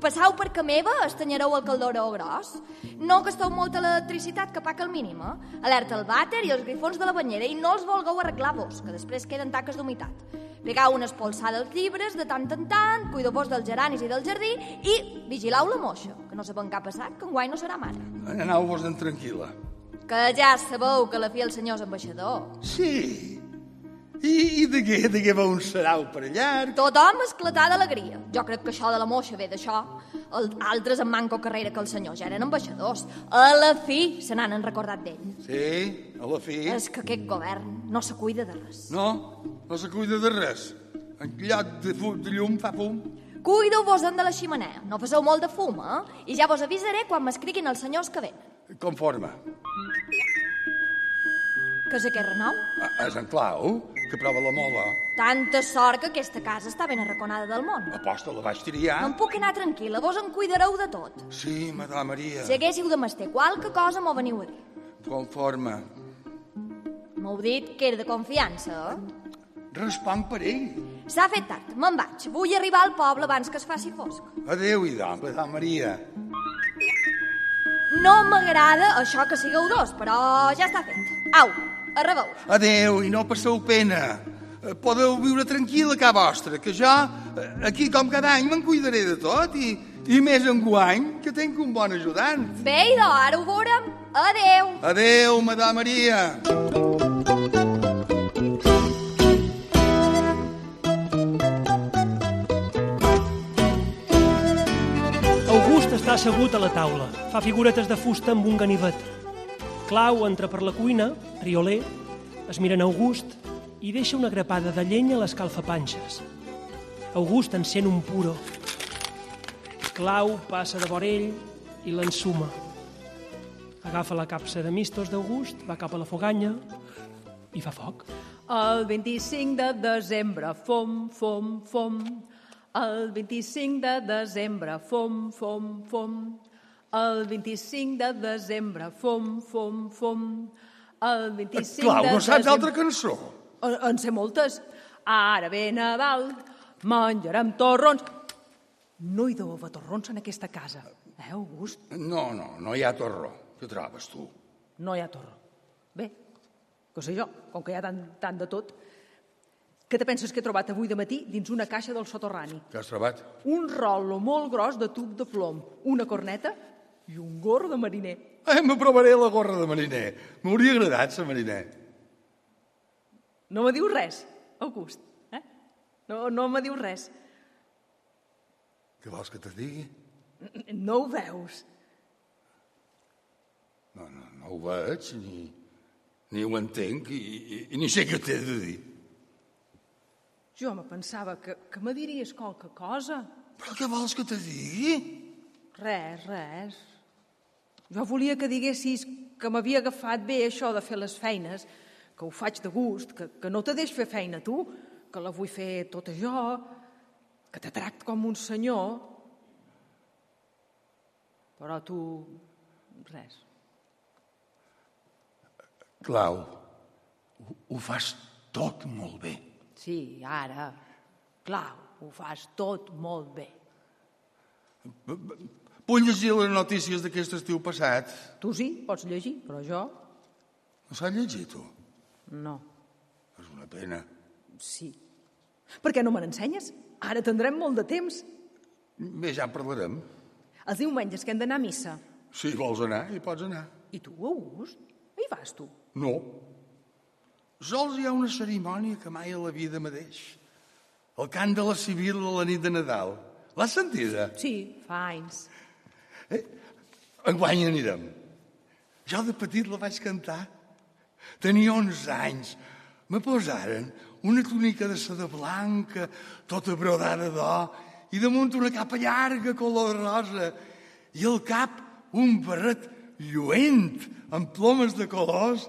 [SPEAKER 5] passau per que meva, estanyareu el caldoró gros. No gasteu molta electricitat que paca el mínim, eh? Alerta el vàter i els grifons de la banyera i no els volgueu arreglar vos, que després queden taques d'humitat. Pegau una espolsada als llibres de tant en tant, cuideu-vos dels geranis i del jardí i vigilau la moixa, que no saben què ha passat, que enguany no serà mare.
[SPEAKER 7] Aneu-vos-en tranquil·la.
[SPEAKER 5] Que ja sabeu que la fi el senyor és ambaixador.
[SPEAKER 7] Sí. I, i de què, de què va un sarau per llarg?
[SPEAKER 5] Tothom esclatà d'alegria. Jo crec que això de la moixa ve d'això. El- Altres amb manco carrera que el senyor ja eren ambaixadors. A la fi se n'han recordat d'ell.
[SPEAKER 7] Sí, a la fi.
[SPEAKER 5] És que aquest govern no se cuida de res.
[SPEAKER 7] No, no se cuida de res. En lloc de, fu- de llum fa fum.
[SPEAKER 5] Cuideu-vos en de la ximenea, no feseu molt de fum, eh? I ja vos avisaré quan m'escriguin els senyors que venen.
[SPEAKER 7] Conforme.
[SPEAKER 5] Que és aquest renom?
[SPEAKER 7] A, a Sant Clau, que prova la mola.
[SPEAKER 5] Tanta sort que aquesta casa està ben arraconada del món.
[SPEAKER 7] Aposta la vaig triar.
[SPEAKER 5] Em puc anar tranquil·la, vos en cuidareu de tot.
[SPEAKER 7] Sí, Madame Maria.
[SPEAKER 5] Si haguéssiu de master qualque cosa, m'ho veniu a dir.
[SPEAKER 7] Conforme.
[SPEAKER 5] M'heu dit que era de confiança, eh?
[SPEAKER 7] Respon per ell.
[SPEAKER 5] S'ha fet tard, me'n vaig. Vull arribar al poble abans que es faci fosc.
[SPEAKER 7] Adéu, idò, Madame Maria.
[SPEAKER 5] No m'agrada això que sigueu dos, però ja està fet. Au, a reveure.
[SPEAKER 7] Adéu i no passeu pena. Eh, Podeu viure tranquil a ca vostra, que jo eh, aquí com cada any me'n cuidaré de tot i, i més enguany que tinc un bon ajudant.
[SPEAKER 5] Bé, idò, ara ho veurem. Adeu.
[SPEAKER 7] Adéu, Madame Maria.
[SPEAKER 2] August està assegut a la taula. Fa figuretes de fusta amb un ganivet. Clau entra per la cuina, rioler, es mira en August i deixa una grapada de llenya a l'escalfapanxes. August encén un puro. Clau passa de vorell i l'ensuma. Agafa la capsa de mistos d'August, va cap a la foganya i fa foc.
[SPEAKER 6] El 25 de desembre, fom, fom, fom. El 25 de desembre, fom, fom, fom. El 25 de desembre, fom, fom, fom. El 25
[SPEAKER 7] Clau,
[SPEAKER 6] de
[SPEAKER 7] no saps
[SPEAKER 6] desembre...
[SPEAKER 7] altra cançó?
[SPEAKER 6] En, en sé moltes. Ara ve Nadal, menjarem torrons. No hi deu haver torrons en aquesta casa. Eh, August?
[SPEAKER 7] No, no, no hi ha torró. Què trobes, tu?
[SPEAKER 6] No hi ha torró. Bé, què sé jo, com que hi ha tant, tant de tot, què te penses que he trobat avui de matí dins una caixa del soterrani?
[SPEAKER 7] Què has trobat?
[SPEAKER 6] Un rol·lo molt gros de tub de plom, una corneta i un gorro de mariner.
[SPEAKER 7] Eh, m'aprovaré la gorra de mariner. M'hauria agradat, ser mariner.
[SPEAKER 6] No me diu res, August. Eh? No, no me diu res.
[SPEAKER 7] Què vols que te digui?
[SPEAKER 6] No ho veus.
[SPEAKER 7] No, no, no ho veig, ni, ni ho entenc i, i, i ni sé què t'he de dir.
[SPEAKER 6] Jo me pensava que, que me diries qualque cosa.
[SPEAKER 7] Però què vols que te digui?
[SPEAKER 6] Res, res. Jo volia que diguessis que m'havia agafat bé això de fer les feines, que ho faig de gust, que, que no te deix fer feina tu, que la vull fer tota jo, que te tract com un senyor. Però tu... res.
[SPEAKER 7] Clau, ho, ho fas tot molt bé.
[SPEAKER 6] Sí, ara, clar, ho fas tot molt bé.
[SPEAKER 7] Vull llegir les notícies d'aquest estiu passat.
[SPEAKER 6] Tu sí, pots llegir, però jo
[SPEAKER 7] No s'ha llegit, tu?
[SPEAKER 6] no.
[SPEAKER 7] És una pena.
[SPEAKER 6] Sí. Per què no me n'ensenyes? Ara tindrem molt de temps.
[SPEAKER 7] Bé, ja en parlarem.
[SPEAKER 6] Els diumenges que hem d'anar a missa.
[SPEAKER 7] Si vols anar, hi pots anar.
[SPEAKER 6] I tu, August? Hi vas tu?
[SPEAKER 7] No. Sols hi ha una cerimònia que mai a la vida mateix. El cant de la civil a la nit de Nadal. L'has sentida?
[SPEAKER 6] Sí, fa anys.
[SPEAKER 7] Enguany anirem. Jo de petit la vaig cantar. Tenia 11 anys. Me posaren una túnica de seda blanca, tota brodada d'or, i damunt una capa llarga color rosa, i al cap un barret lluent amb plomes de colors,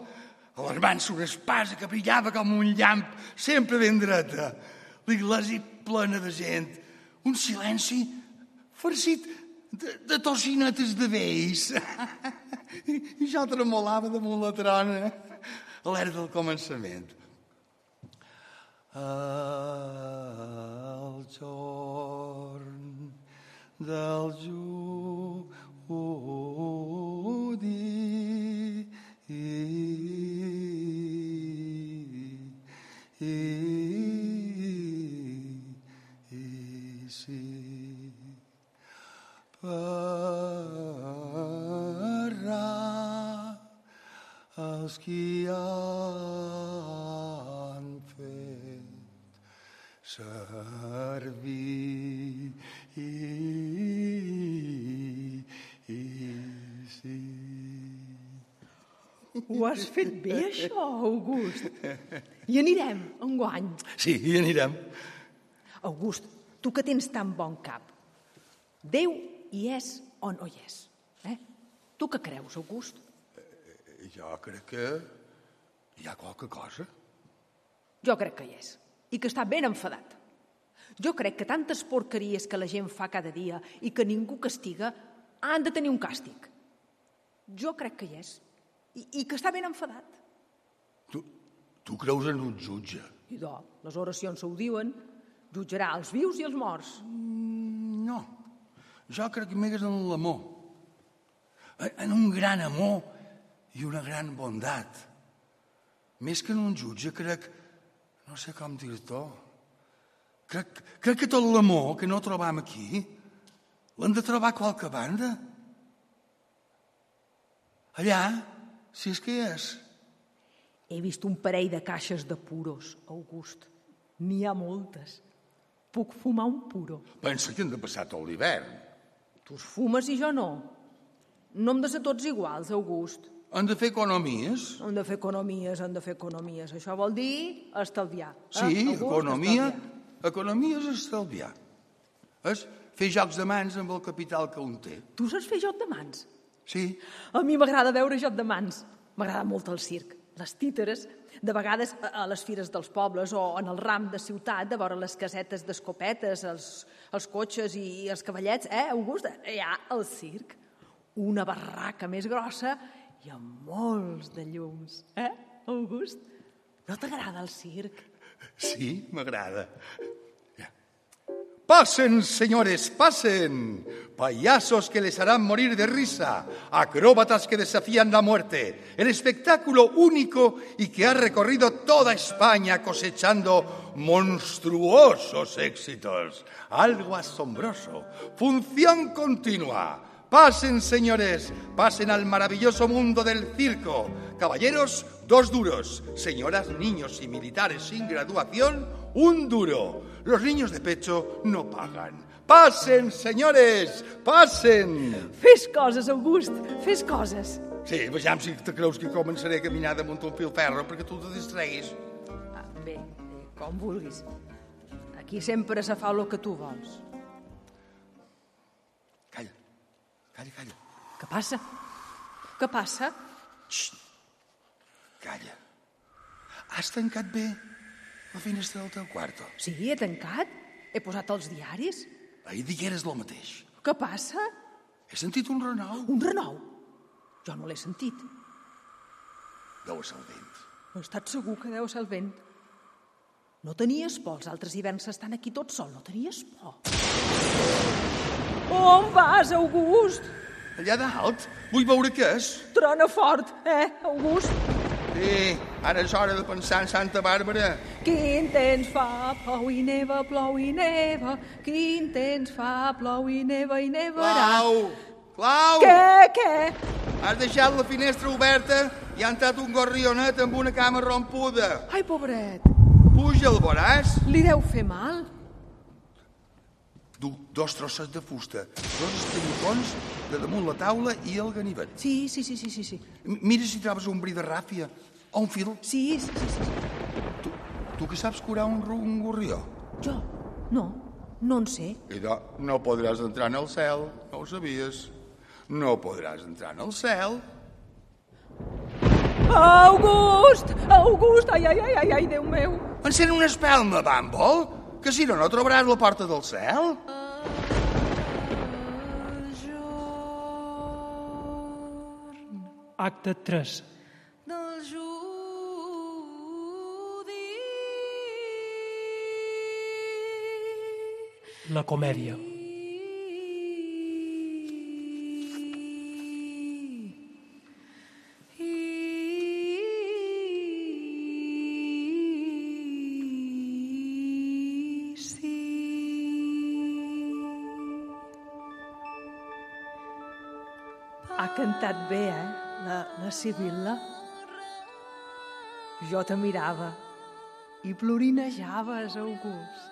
[SPEAKER 7] a les mans una espasa que brillava com un llamp, sempre ben dreta. L'iglesi plena de gent, un silenci farcit de, de tocinetes de vells. I, I jo tremolava damunt la trona a l'era del començament. El jorn del judi i, i, i, sí verrà
[SPEAKER 8] els qui han fet servir i, i, sí.
[SPEAKER 6] Ho has fet bé, això, August. I anirem, enguany.
[SPEAKER 8] Sí, hi anirem.
[SPEAKER 6] August, tu que tens tan bon cap, Déu hi és o no hi és? Eh? Tu què creus, August?
[SPEAKER 8] Jo crec que hi ha qualque cosa.
[SPEAKER 6] Jo crec que hi és. I que està ben enfadat. Jo crec que tantes porqueries que la gent fa cada dia i que ningú castiga han de tenir un càstig. Jo crec que hi és. I, i que està ben enfadat.
[SPEAKER 8] Tu, tu creus en un jutge?
[SPEAKER 6] I do, les oracions ho diuen. Jutjarà els vius i els morts.
[SPEAKER 8] No. Jo crec més en l'amor. En en un gran amor i una gran bondat. Més que en un jutge, crec... No sé com dir-t'ho. Crec, crec que tot l'amor que no trobam aquí l'hem de trobar a qualque banda. Allà, si és que hi és.
[SPEAKER 6] He vist un parell de caixes de puros, August. N'hi ha moltes. Puc fumar un puro.
[SPEAKER 7] Pensa que hem de passar tot l'hivern.
[SPEAKER 6] Tu es fumes i jo no. No hem de ser tots iguals, August.
[SPEAKER 7] Hem de fer economies.
[SPEAKER 6] Hem de fer economies, hem de fer economies. Això vol dir estalviar. eh?
[SPEAKER 7] Sí,
[SPEAKER 6] August,
[SPEAKER 7] economia,
[SPEAKER 6] estalviar.
[SPEAKER 7] economia és estalviar. És fer jocs de mans amb el capital que un té.
[SPEAKER 6] Tu saps fer joc de mans?
[SPEAKER 7] Sí,
[SPEAKER 6] A mi m'agrada veure joc de mans. M'agrada molt el circ, les títeres, de vegades a a les fires dels pobles o en el ram de ciutat, de veure les casetes d'escopetes, els, els cotxes i, i els cavallets, eh, August? Hi ha el circ, una barraca més grossa i amb molts de llums, eh, August? No t'agrada el circ?
[SPEAKER 8] Sí, m'agrada.
[SPEAKER 7] Pasen, señores, pasen. Payasos que les harán morir de risa, acróbatas que desafían la muerte, el espectáculo único y que ha recorrido toda España cosechando monstruosos éxitos. Algo asombroso, función continua. Pasen, señores, pasen al maravilloso mundo del circo. Caballeros, dos duros. Señoras, niños y militares sin graduación, un duro. Los niños de pecho no pagan. Pasen, señores, pasen.
[SPEAKER 6] Fes coses, August, fes coses.
[SPEAKER 7] Sí, vejam si te creus que començaré a caminar damunt un fil ferro perquè tu te distreguis.
[SPEAKER 6] Ah, bé, bé, com vulguis. Aquí sempre se fa el que tu vols.
[SPEAKER 7] Calla, calla, calla,
[SPEAKER 6] Què passa? Què passa?
[SPEAKER 7] calla. Has tancat bé la finestra del teu quarto.
[SPEAKER 6] Sí, he tancat. He posat els diaris.
[SPEAKER 7] Ahir digueres el mateix.
[SPEAKER 6] Què passa?
[SPEAKER 7] He sentit un renou.
[SPEAKER 6] Un renou. Jo no l'he sentit.
[SPEAKER 7] Deu ser el vent.
[SPEAKER 6] He estat segur que deu ser el vent. No tenies por, els altres hiverns estan aquí tot sol. No tenies por. On vas, August?
[SPEAKER 7] Allà dalt, vull veure què és.
[SPEAKER 6] Trona fort, eh, August?
[SPEAKER 7] Sí, ara és hora de pensar en Santa Bàrbara.
[SPEAKER 6] Quin temps fa, plou i neva, plou i neva. Quin temps fa, plou i neva i nevarà.
[SPEAKER 7] Clau! Clau!
[SPEAKER 6] Què, què?
[SPEAKER 7] Has deixat la finestra oberta i ha entrat un gorrionet amb una cama rompuda.
[SPEAKER 6] Ai, pobret,
[SPEAKER 7] Puja el voràs.
[SPEAKER 6] li deu fer mal?
[SPEAKER 7] Du dos trossos de fusta, dos estrellocons de damunt la taula i el ganivet.
[SPEAKER 6] Sí, sí, sí, sí, sí, sí.
[SPEAKER 7] M- Mira si trobes un bri de ràfia o un fil.
[SPEAKER 6] Sí, sí, sí, sí.
[SPEAKER 7] Tu, tu que saps curar un, ru- un gorrió?
[SPEAKER 6] Jo? No, no en sé.
[SPEAKER 7] I de, no podràs entrar en el cel, no ho sabies. No podràs entrar en el cel.
[SPEAKER 6] August! August! Ai, ai, ai, ai, ai Déu meu!
[SPEAKER 7] Encén una espelma, Bumble, que si no, no trobaràs la porta del cel.
[SPEAKER 2] Acte 3.
[SPEAKER 9] del judi.
[SPEAKER 2] La comèdia.
[SPEAKER 9] I sí.
[SPEAKER 6] Ha cantat bé, eh, la, la Sibil·la. Jo te mirava i florinejaves, August.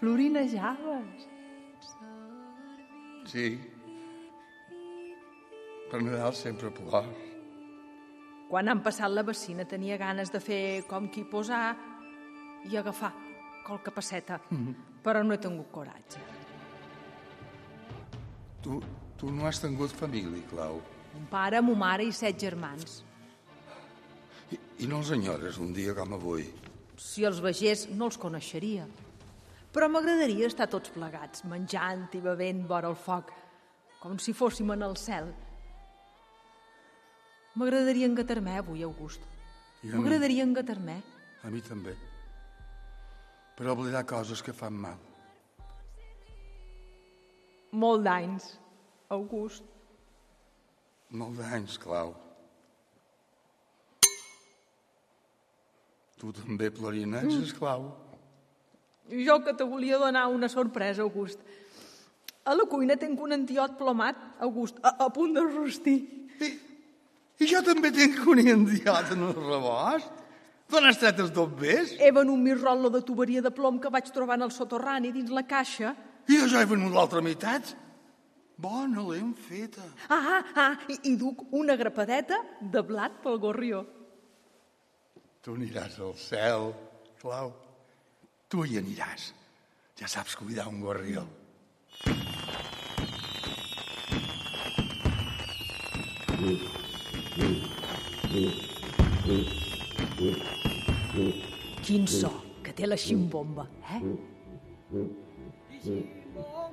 [SPEAKER 6] Florinejaves.
[SPEAKER 7] Sí. Per Nadal sempre plor.
[SPEAKER 6] Quan han passat la vacina tenia ganes de fer com qui posar i agafar qualque passeta, mm -hmm. però no he tingut coratge.
[SPEAKER 7] Tu, tu no has tingut família, Clau.
[SPEAKER 6] Un pare, mo mare i set germans.
[SPEAKER 7] I, i no els enyores un dia com avui.
[SPEAKER 6] Si els vegés, no els coneixeria. Però m'agradaria estar tots plegats, menjant i bevent vora el foc, com si fóssim en el cel. M'agradaria engatar-me avui, August.
[SPEAKER 7] I a mi?
[SPEAKER 6] M'agradaria engatar-me.
[SPEAKER 7] A mi també. Per oblidar coses que fan mal.
[SPEAKER 6] Molt d'anys, August.
[SPEAKER 7] Molt d'anys, Clau. Tu també plorinages, Clau.
[SPEAKER 6] Jo que te volia donar una sorpresa, August. A la cuina tinc un antiot plomat, August, a, a punt de rostir.
[SPEAKER 7] I, I jo també tinc un indiot en el rebost. D'on has tret els dobbers?
[SPEAKER 6] He venut mi rol·lo de tuberia de plom que vaig trobar en el soterrani dins la caixa.
[SPEAKER 7] I jo ja he venut l'altra meitat. Bona, l'hem feta.
[SPEAKER 6] Ah, ah, ah, i, i duc una grapadeta de blat pel gorrió.
[SPEAKER 7] Tu aniràs al cel, Clau. Tu hi aniràs. Ja saps cuidar un gorrió.
[SPEAKER 6] Quin so que té la ximbomba, eh?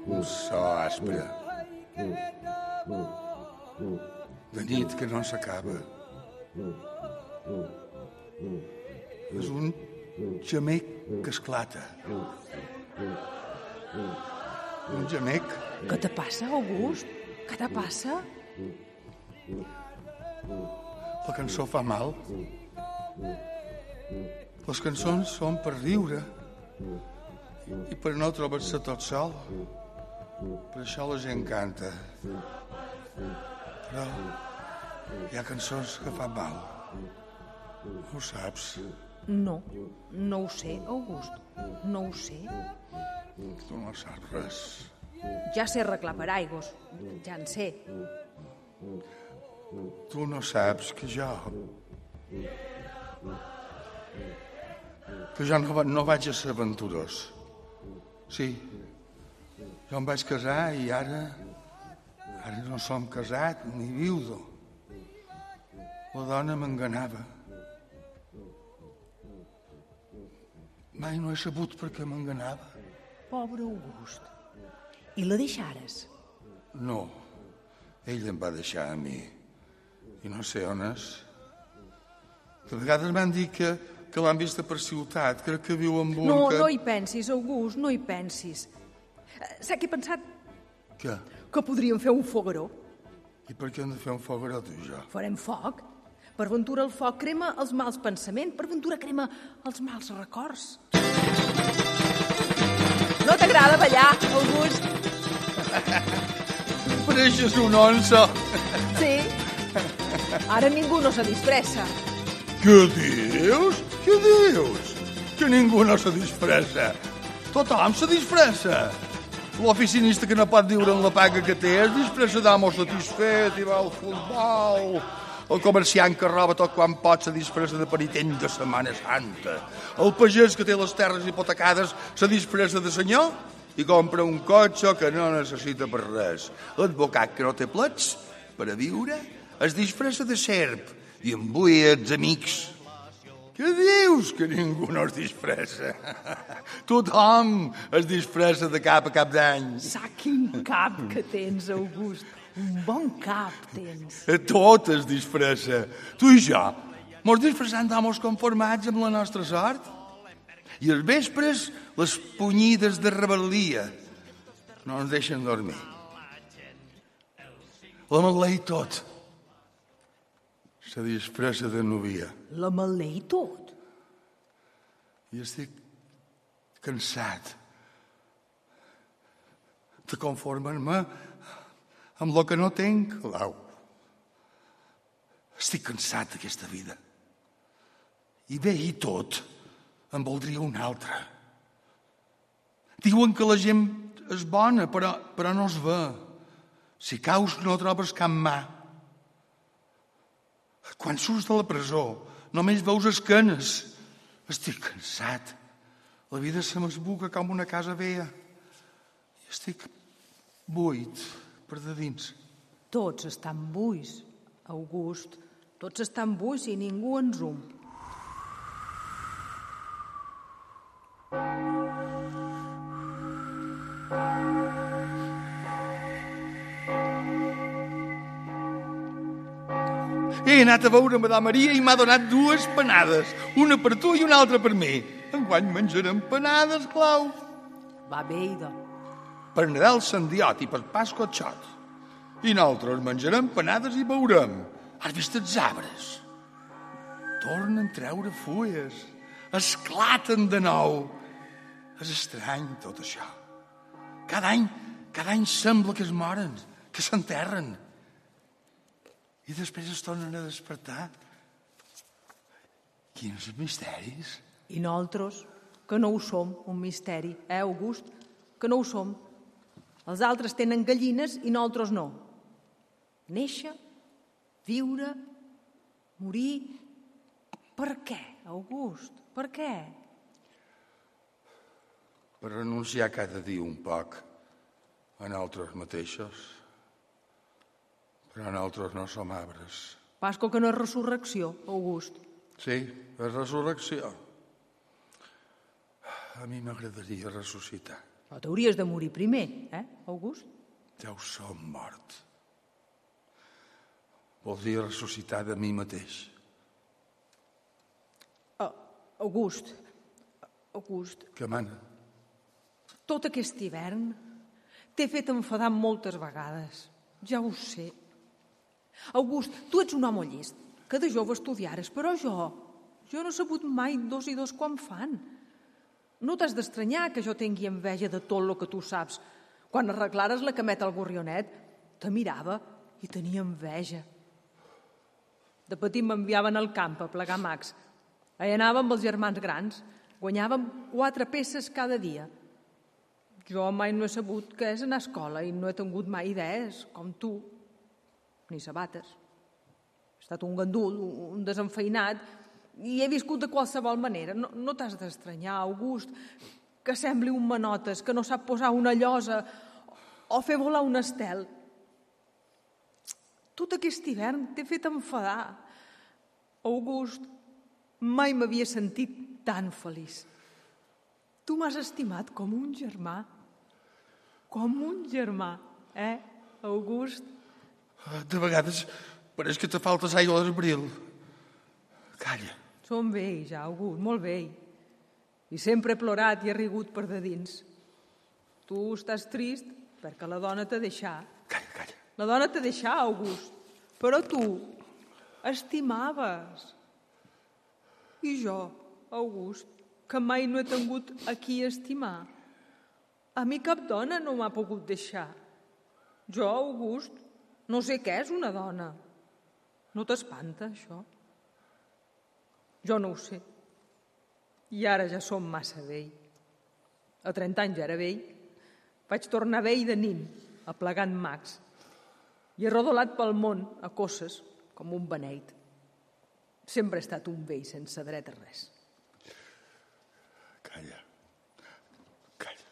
[SPEAKER 7] Un so aspre. Mm, De nit que no s'acaba. És un gemec que esclata. Un gemec
[SPEAKER 6] Què te passa, August? Què te passa?
[SPEAKER 7] La cançó fa mal. Les cançons són per riure i per no trobar-se tot sol. Per això la gent canta. Però hi ha cançons que fan mal. Ho saps.
[SPEAKER 6] No, no ho sé, August. No ho sé.
[SPEAKER 7] Tu no saps res.
[SPEAKER 6] Ja sé arreglar paraigos. Ja en sé.
[SPEAKER 7] Tu no saps que jo... Que jo no, va- no vaig a ser aventurós. Sí, jo em vaig casar i ara... Ara no som casat ni viudo. La dona m'enganava. Mai no he sabut per què m'enganava.
[SPEAKER 6] Pobre August. I la deixares?
[SPEAKER 7] No, ell em va deixar a mi. I no sé on és. De vegades m'han dit que, que l'han vista per ciutat, crec que viu amb un
[SPEAKER 6] No,
[SPEAKER 7] que...
[SPEAKER 6] no hi pensis, August, no hi pensis. Eh, Saps què he pensat?
[SPEAKER 7] Què?
[SPEAKER 6] Que podríem fer un fogueró.
[SPEAKER 7] I per què hem de fer un foc gros, tu i jo?
[SPEAKER 6] Farem foc. Per ventura el foc crema els mals pensaments, per ventura crema els mals records. No t'agrada ballar, August?
[SPEAKER 7] Pareixes un onça!
[SPEAKER 6] Sí. Ara ningú no se disfressa.
[SPEAKER 7] Què dius? Què dius? Que ningú no se disfressa. Tothom se disfressa. L'oficinista que no pot viure en la paga que té es disfressa d'amo satisfet i va al futbol. El comerciant que roba tot quan pot se disfressa de penitent de Setmana Santa. El pagès que té les terres hipotecades se disfressa de senyor i compra un cotxe que no necessita per res. L'advocat que no té plets per a viure es disfressa de serp i embuia els amics. Què dius que ningú no es disfressa? Tothom es disfressa de cap a cap d'any.
[SPEAKER 6] Sa quin cap que tens, August. Un bon cap tens.
[SPEAKER 7] Tot es disfressa. Tu i jo mos disfressant d'homes conformats amb la nostra sort. I els vespres, les punyides de rebel·lia no ens deixen dormir. La Matlei tot se disfressa de novia.
[SPEAKER 6] La malei tot.
[SPEAKER 7] I estic cansat de conformar-me amb el que no tinc, Clau. Estic cansat d'aquesta vida. I I bé i tot, en voldria un altre. Diuen que la gent és bona, però, però no es ve. Si caus no trobes cap mà. Quan surts de la presó, només veus esquenes. Estic cansat. La vida se m'esbuca com una casa vella. I estic buit per de dins.
[SPEAKER 6] Tots estan buis, August. Tots estan buis i ningú ens omple.
[SPEAKER 7] He anat a veure Madame Maria i m'ha donat dues panades, una per tu i una altra per mi. Enguany menjarem panades, Clau.
[SPEAKER 6] Va bé, doncs. Ida.
[SPEAKER 7] Per Nadal sandiot i per Pasqua xot. I nosaltres menjarem panades i beurem. Has vist els arbres? Tornen a treure fulles. Esclaten de nou. És estrany tot això. Cada any, cada any sembla que es moren, que s'enterren. I després es tornen a despertar. Quins misteris.
[SPEAKER 6] I nosaltres, que no ho som, un misteri, eh, August? Que no ho som. Els altres tenen gallines i nosaltres no. Néixer, viure, morir... Per què, August? Per què?
[SPEAKER 7] Per renunciar cada dia un poc a nosaltres mateixos. Però nosaltres no som arbres.
[SPEAKER 6] Pasco, que no és resurrecció, August.
[SPEAKER 7] Sí, és resurrecció. A mi m'agradaria ressuscitar.
[SPEAKER 6] Però t'hauries de morir primer, eh, August?
[SPEAKER 7] Ja ho som mort. Voldria ressuscitar de mi mateix.
[SPEAKER 6] Ah, August, August,
[SPEAKER 7] Que mana.
[SPEAKER 6] tot aquest hivern t'he fet enfadar moltes vegades. Ja ho sé. August, tu ets un home llest, que de jove estudiares, però jo, jo no he sabut mai dos i dos quan fan. No t'has d'estranyar que jo tingui enveja de tot el que tu saps. Quan arreglares la cameta al gorrionet, te mirava i tenia enveja. De petit m'enviaven al camp a plegar mags. Allà anàvem els germans grans. Guanyàvem quatre peces cada dia. Jo mai no he sabut què és anar a escola i no he tingut mai idees, com tu, ni sabates. He estat un gandul, un- un desenfeinat, i he viscut de qualsevol manera. No, no t'has d'estranyar, August, que sembli un manotes, que no sap posar una llosa o fer volar un estel. Tot aquest hivern t'he fet enfadar. August, mai m'havia sentit tan feliç. Tu m'has estimat com un germà. Com un germà, eh, August?
[SPEAKER 7] Ah, De vegades pareix que te faltes aigua d'abril. Calla.
[SPEAKER 6] Som vell, ja, August, molt vell. I sempre he plorat i he rigut per de dins. Tu estàs trist perquè la dona t'ha deixat.
[SPEAKER 7] Calla, calla.
[SPEAKER 6] La dona t'ha deixat, August. Però tu estimaves. I jo, August, que mai no he tingut a qui estimar. A mi cap dona no m'ha pogut deixar. Jo, August, no sé què és una dona. No t'espanta, això? Jo no ho sé. I ara ja som massa vell. A 30 anys ja era vell. Vaig tornar vell de nin, aplegant mags. I he rodolat pel món a coses, com un beneit. Sempre he estat un vell sense dret a res.
[SPEAKER 7] Calla. Calla.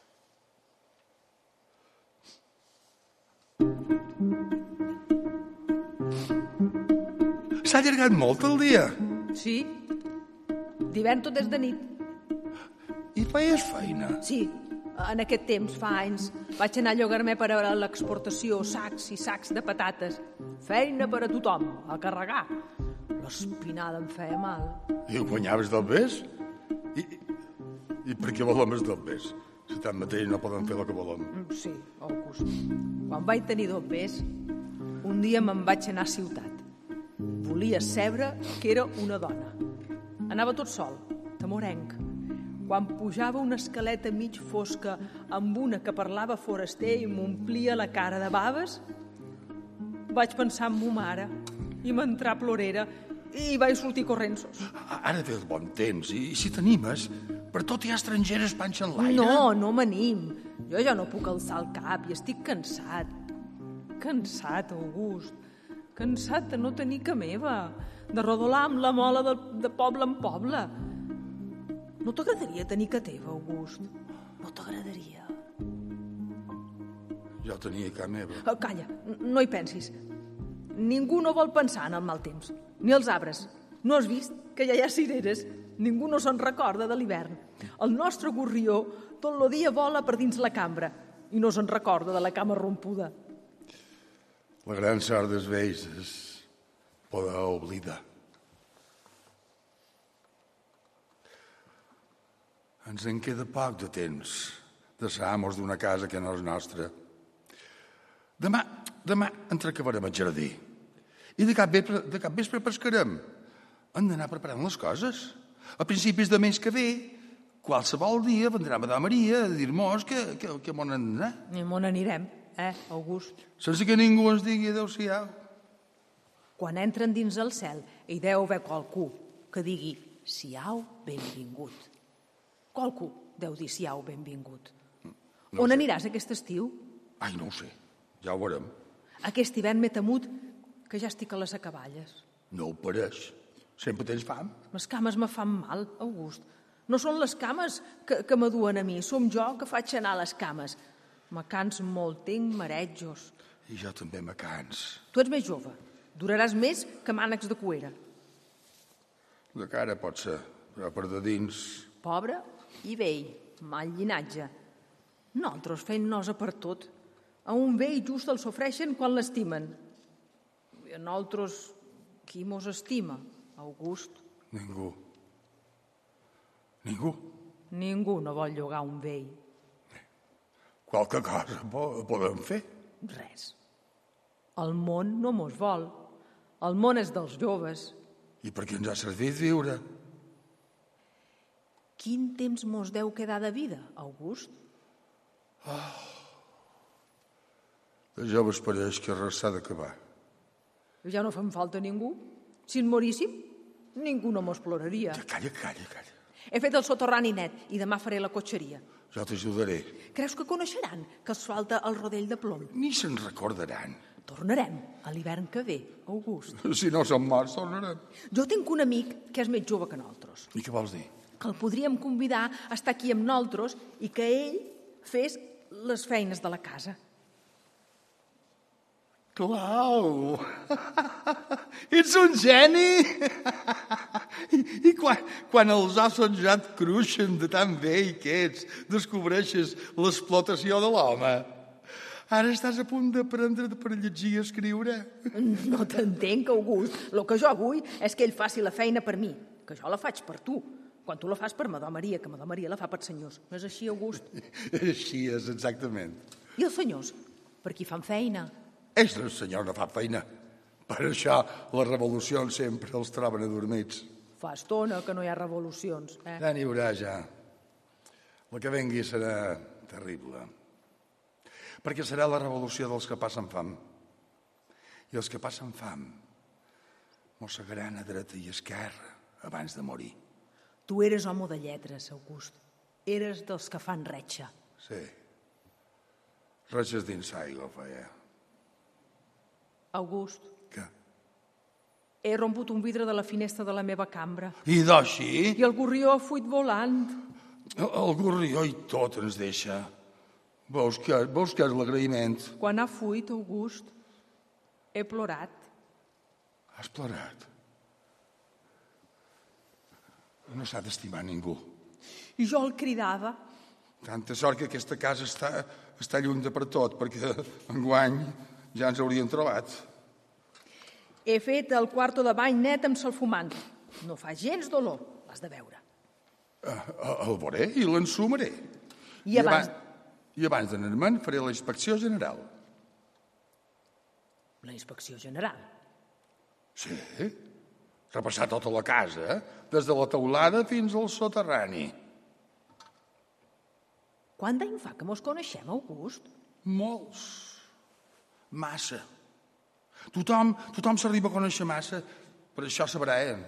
[SPEAKER 7] S'ha allargat molt el dia.
[SPEAKER 6] Sí, d'hivern tot és de nit.
[SPEAKER 7] I feies feina.
[SPEAKER 6] Sí, en aquest temps, fa anys, vaig anar a llogar-me per a l'exportació sacs i sacs de patates. Feina per a tothom, a carregar. L'espinada em feia mal.
[SPEAKER 7] I ho guanyaves del bes? I, i per què volem els del bes? Si tanmateix no poden fer el que volem.
[SPEAKER 6] Mm, Sí, August. Quan vaig tenir dos bes, un dia me'n vaig anar a ciutat. Volia cebre que era una dona. Anava tot sol, tamorenc. Quan pujava una escaleta mig fosca amb una que parlava foraster i m'omplia la cara de baves, vaig pensar en mo mare i m'entrà plorera i vaig sortir corrents.
[SPEAKER 7] A- Ara ve el bon temps i, i si t'animes, per tot hi ha estrangeres panxa en l'aire.
[SPEAKER 6] No, no m'anim. Jo ja no puc alçar el cap i estic cansat. Cansat, August. Cansat de no tenir que meva. De rodolar amb la mola de, de poble en poble. No t'agradaria tenir que teva, August? No t'agradaria.
[SPEAKER 7] Jo tenia que meva.
[SPEAKER 6] Eh, Calla, n- no hi pensis. Ningú no vol pensar en el mal temps, ni els arbres. No has vist que ja hi ha cireres? Ningú no se'n recorda de l'hivern. El nostre gorrió tot el dia vola per dins la cambra i no se'n recorda de la cama rompuda.
[SPEAKER 7] La gran sort dels vells és poder oblidar. Ens en queda poc de temps de ser amos d'una casa que no és nostra. Demà, demà entrecabarem al jardí i de cap vespre, de cap vespre pescarem. Hem d'anar preparant les coses. A principis de mes que ve, qualsevol dia vendrà Madame Maria a dir-nos que, que, que m'on hem d'anar
[SPEAKER 6] I on anirem, eh, August?
[SPEAKER 7] sense que ningú ens digui adeu-siau.
[SPEAKER 6] Quan entren dins el cel, hi deu haver qualcú que digui siau benvingut. Qualcú deu dir siau benvingut. No
[SPEAKER 7] Mm, No ho
[SPEAKER 6] on
[SPEAKER 7] sé.
[SPEAKER 6] aniràs aquest estiu?
[SPEAKER 7] Ai, no ho sé, ja ho veurem.
[SPEAKER 6] Aquest hivern m'he temut que ja estic a les acaballes.
[SPEAKER 7] No ho pareix. Sempre tens fam.
[SPEAKER 6] Les cames me fan mal, August. No són les cames que, que m'aduen a mi, som jo que faig anar les cames. Me cans molt, tinc marejos.
[SPEAKER 7] I jo també me cans.
[SPEAKER 6] Tu ets més jove, duraràs més que mànecs de cuera.
[SPEAKER 7] De cara pot ser, però per de dins...
[SPEAKER 6] Pobre i vell, mal llinatge. Nosaltres fent nosa per tot. A un vell just el s'ofreixen quan l'estimen. I a nosaltres, qui mos estima? August.
[SPEAKER 7] Ningú. Ningú.
[SPEAKER 6] Ningú no vol llogar un vell.
[SPEAKER 7] Qualque cosa po podem fer.
[SPEAKER 6] Res. El món no mos vol. El món és dels joves.
[SPEAKER 7] I per què ens ha servit viure?
[SPEAKER 6] Quin temps mos deu quedar de vida, August?
[SPEAKER 7] De joves pareix que res s'ha d'acabar.
[SPEAKER 6] Ja no fem falta ningú. Si en moríssim, ningú no mos ploraria.
[SPEAKER 7] Ja, calla, calla, calla.
[SPEAKER 6] He fet el soterrani net i demà faré la cotxeria.
[SPEAKER 7] Jo t'ajudaré.
[SPEAKER 6] Creus que coneixeran que els falta el rodell de plom?
[SPEAKER 7] Ni se'n recordaran.
[SPEAKER 6] Tornarem a l'hivern que ve, August.
[SPEAKER 7] Si no som morts, tornarem.
[SPEAKER 6] Jo tinc un amic que és més jove que nosaltres,
[SPEAKER 7] I què vols dir?
[SPEAKER 6] que el podríem convidar a estar aquí amb nosaltres i que ell fes les feines de la casa.
[SPEAKER 8] Clau! Ets un geni! I, i quan, quan els ossos ja et cruixen de tan vell que ets, descobreixes l'explotació de l'home. Ara estàs a punt d'aprendre per llegir i escriure.
[SPEAKER 6] No t'entenc, August. El que jo vull és que ell faci la feina per mi, que jo la faig per tu, quan tu la fas per Madó Maria, que Madó Maria la fa per senyors. No és així, August?
[SPEAKER 7] Així és, exactament.
[SPEAKER 6] I els senyors? Per qui fan feina?
[SPEAKER 7] És el senyor no fa feina. Per això les revolucions sempre els troben adormits.
[SPEAKER 6] Fa estona que no hi ha revolucions, eh?
[SPEAKER 7] Ja n'hi haurà, ja. El que vengui serà terrible. Perquè serà la revolució dels que passen fam. I els que passen fam mossegaran a dreta i esquerra abans de morir.
[SPEAKER 6] Tu eres home de lletres, August. Eres dels que fan retxa.
[SPEAKER 7] Sí. Ratxes dins aigua, feia.
[SPEAKER 6] August,
[SPEAKER 7] Que...
[SPEAKER 6] he romput un vidre de la finestra de la meva cambra
[SPEAKER 7] I d'així,
[SPEAKER 6] i el gorrió ha fuit volant.
[SPEAKER 7] el gorrió i tot ens deixa. Veus que, veus que és l'agraïment?
[SPEAKER 6] Quan ha fuit, August, he plorat.
[SPEAKER 7] Has plorat. No s'ha d'estimar ningú.
[SPEAKER 6] I jo el cridava.
[SPEAKER 7] Tanta sort que aquesta casa està, està lluny de per tot, perquè enguany ja ens haurien trobat.
[SPEAKER 6] He fet el quarto de bany net amb salfumant. No fa gens dolor, l'has de veure.
[SPEAKER 7] Eh, El veuré i l'ensumaré.
[SPEAKER 6] I abans-
[SPEAKER 7] I abans d'anar-me'n faré la inspecció general.
[SPEAKER 6] La inspecció general.
[SPEAKER 7] Sí? Repassar tota la casa, eh? des de la teulada fins al soterrani.
[SPEAKER 6] Quant d'any fa que mos coneixem, August?
[SPEAKER 7] Molts. Massa. Tothom, tothom s'arriba a conèixer massa. Per això sabrà eh? ell.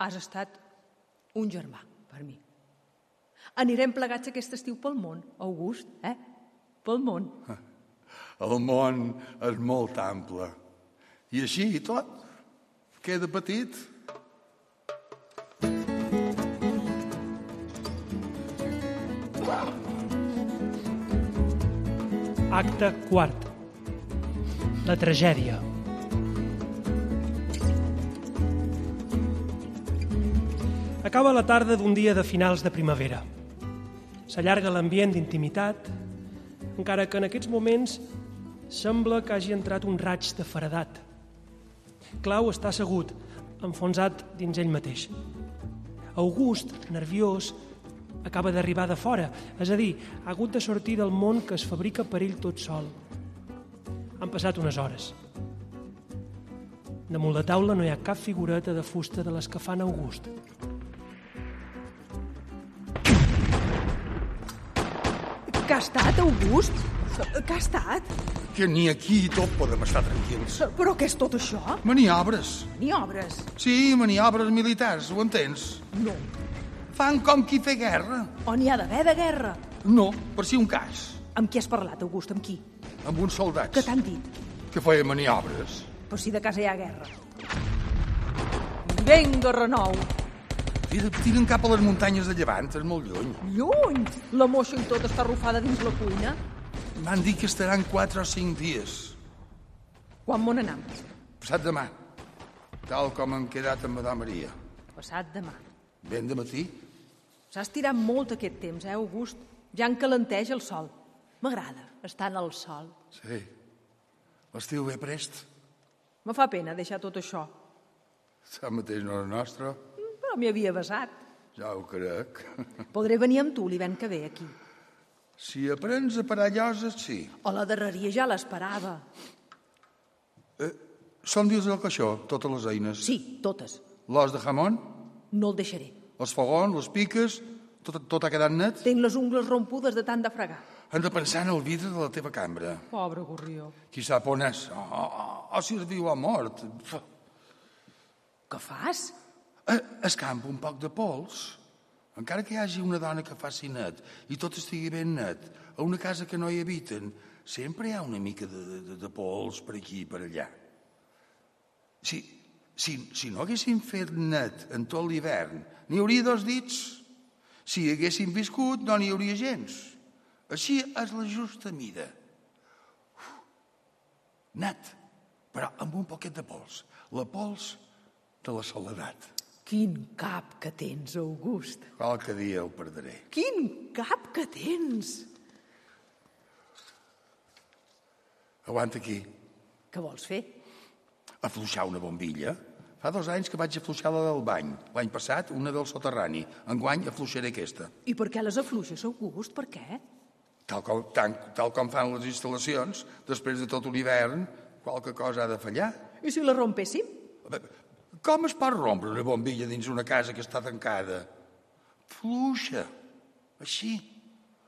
[SPEAKER 6] Has estat un germà per mi. Anirem plegats aquest estiu pel món, August, eh? Pel món.
[SPEAKER 7] El món és molt ample. I així i tot queda petit.
[SPEAKER 2] Acte quart. La tragèdia. Acaba la tarda d'un dia de finals de primavera. S'allarga l'ambient d'intimitat, encara que en aquests moments sembla que hagi entrat un raig de faredat. Clau està assegut, enfonsat dins ell mateix. August, nerviós, acaba d'arribar de fora, és a dir, ha hagut de sortir del món que es fabrica per ell tot sol. Han passat unes hores. Damunt la taula no hi ha cap figureta de fusta de les que fan August.
[SPEAKER 6] Que ha estat, August? Que ha estat?
[SPEAKER 7] Que ni aquí i tot podem estar tranquils.
[SPEAKER 6] Però què és tot això?
[SPEAKER 7] Maniobres.
[SPEAKER 6] Ni obres.
[SPEAKER 7] Sí, maniobres militars, ho entens?
[SPEAKER 6] No.
[SPEAKER 7] Fan com qui té guerra.
[SPEAKER 6] On hi ha d'haver de guerra?
[SPEAKER 7] No, per si un cas.
[SPEAKER 6] Amb qui has parlat, August? Amb qui?
[SPEAKER 7] Amb uns soldats
[SPEAKER 6] Que t'han dit?
[SPEAKER 7] que feien maniobres.
[SPEAKER 6] Per si de casa hi ha guerra. Vinga, renou!
[SPEAKER 7] Tira- Tiren cap a les muntanyes de Llevant, és molt lluny.
[SPEAKER 6] Lluny! La moixa i tot està arrufada dins la cuina.
[SPEAKER 7] M'han dit que estaran 4 o 5 dies.
[SPEAKER 6] Quan m'on anam?
[SPEAKER 7] Passat demà. Tal com han quedat amb Madame Maria.
[SPEAKER 6] Passat demà.
[SPEAKER 7] Ben de matí.
[SPEAKER 6] S'ha estirat molt aquest temps, eh, August? Ja en calenteix el sol. M'agrada estar en el sol.
[SPEAKER 7] Sí. L'estiu ve prest.
[SPEAKER 6] Me fa pena deixar tot això,
[SPEAKER 7] Ara mateix no és nostra.
[SPEAKER 6] però m'hi havia basat.
[SPEAKER 7] Ja ho crec.
[SPEAKER 6] Podré venir amb tu l'hivern que ve aquí.
[SPEAKER 7] Si aprens a parar lloses, sí.
[SPEAKER 6] O la darreria ja l'esperava.
[SPEAKER 7] Són dius del caixó, totes les eines.
[SPEAKER 6] Sí, totes.
[SPEAKER 7] L'os de jamón,
[SPEAKER 6] No el deixaré.
[SPEAKER 7] els fogons, les piques, tot, tot ha quedat net.
[SPEAKER 6] Tenc les ungles rompudes de tant de fregar.
[SPEAKER 7] Hem de pensar en el vidre de la teva cambra.
[SPEAKER 6] Pobre gorrió.
[SPEAKER 7] Qui sap on és? Oh, O, o, o si es viu o ha mort. Pf.
[SPEAKER 6] Què fas?
[SPEAKER 7] Eh, Escampa un poc de pols. Encara que hi hagi una dona que faci net i tot estigui ben net, a una casa que no hi habiten, sempre hi ha una mica de, de, de- de pols per aquí i per allà. Si, si, si no haguéssim fet net en tot l'hivern, n'hi hauria dos dits. Si haguéssim viscut, no n'hi hauria gens. Així és la justa mida. Uf, net, però amb un poquet de pols. La pols de la soledat.
[SPEAKER 6] Quin cap que tens, August.
[SPEAKER 7] Qualque dia ho perdré.
[SPEAKER 6] Quin cap que tens.
[SPEAKER 7] Aguanta aquí.
[SPEAKER 6] Què vols fer?
[SPEAKER 7] Afluixar una bombilla. Fa dos anys que vaig afluixar la del bany. L'any passat, una del soterrani. Enguany afluixaré aquesta.
[SPEAKER 6] I per què les afluixes, August? Per què?
[SPEAKER 7] Tal com, tan, tal com fan les instal·lacions, després de tot un hivern, qualque cosa ha de fallar. Eh,
[SPEAKER 6] I si la rompéssim?
[SPEAKER 7] Com es pot rompre una bombilla dins una casa que està tancada? Fluixa. Així.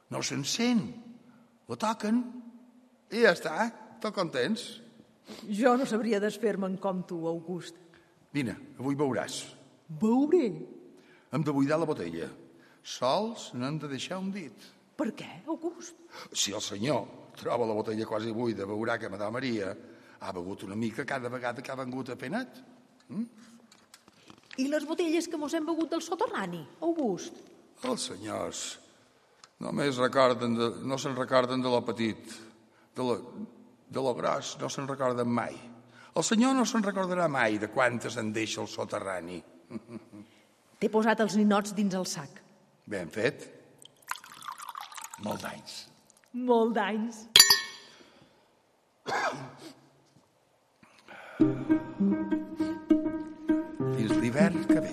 [SPEAKER 7] No s'encén. La toquen. I ja està. Tot contents.
[SPEAKER 6] Jo no sabria desfer-me'n com tu, August.
[SPEAKER 7] Vine, avui veuràs.
[SPEAKER 6] Veuré.
[SPEAKER 7] Hem de buidar la botella. Sols n'hem de deixar un dit.
[SPEAKER 6] Per què, August?
[SPEAKER 7] Si el senyor troba la botella quasi buida, veurà que Madame Maria ha begut una mica cada vegada que ha vengut a fer net.
[SPEAKER 6] I les botelles que mos hem begut del soterrani, August?
[SPEAKER 7] Els senyors només recorden de, no se'n recorden de lo petit, de lo, de lo gros no se'n recorden mai. El senyor no se'n recordarà mai de quantes en deixa el soterrani.
[SPEAKER 6] T'he posat els ninots dins el sac.
[SPEAKER 7] Ben fet. Molts anys.
[SPEAKER 6] Molt d'anys.
[SPEAKER 7] Fins l'hivern que ve.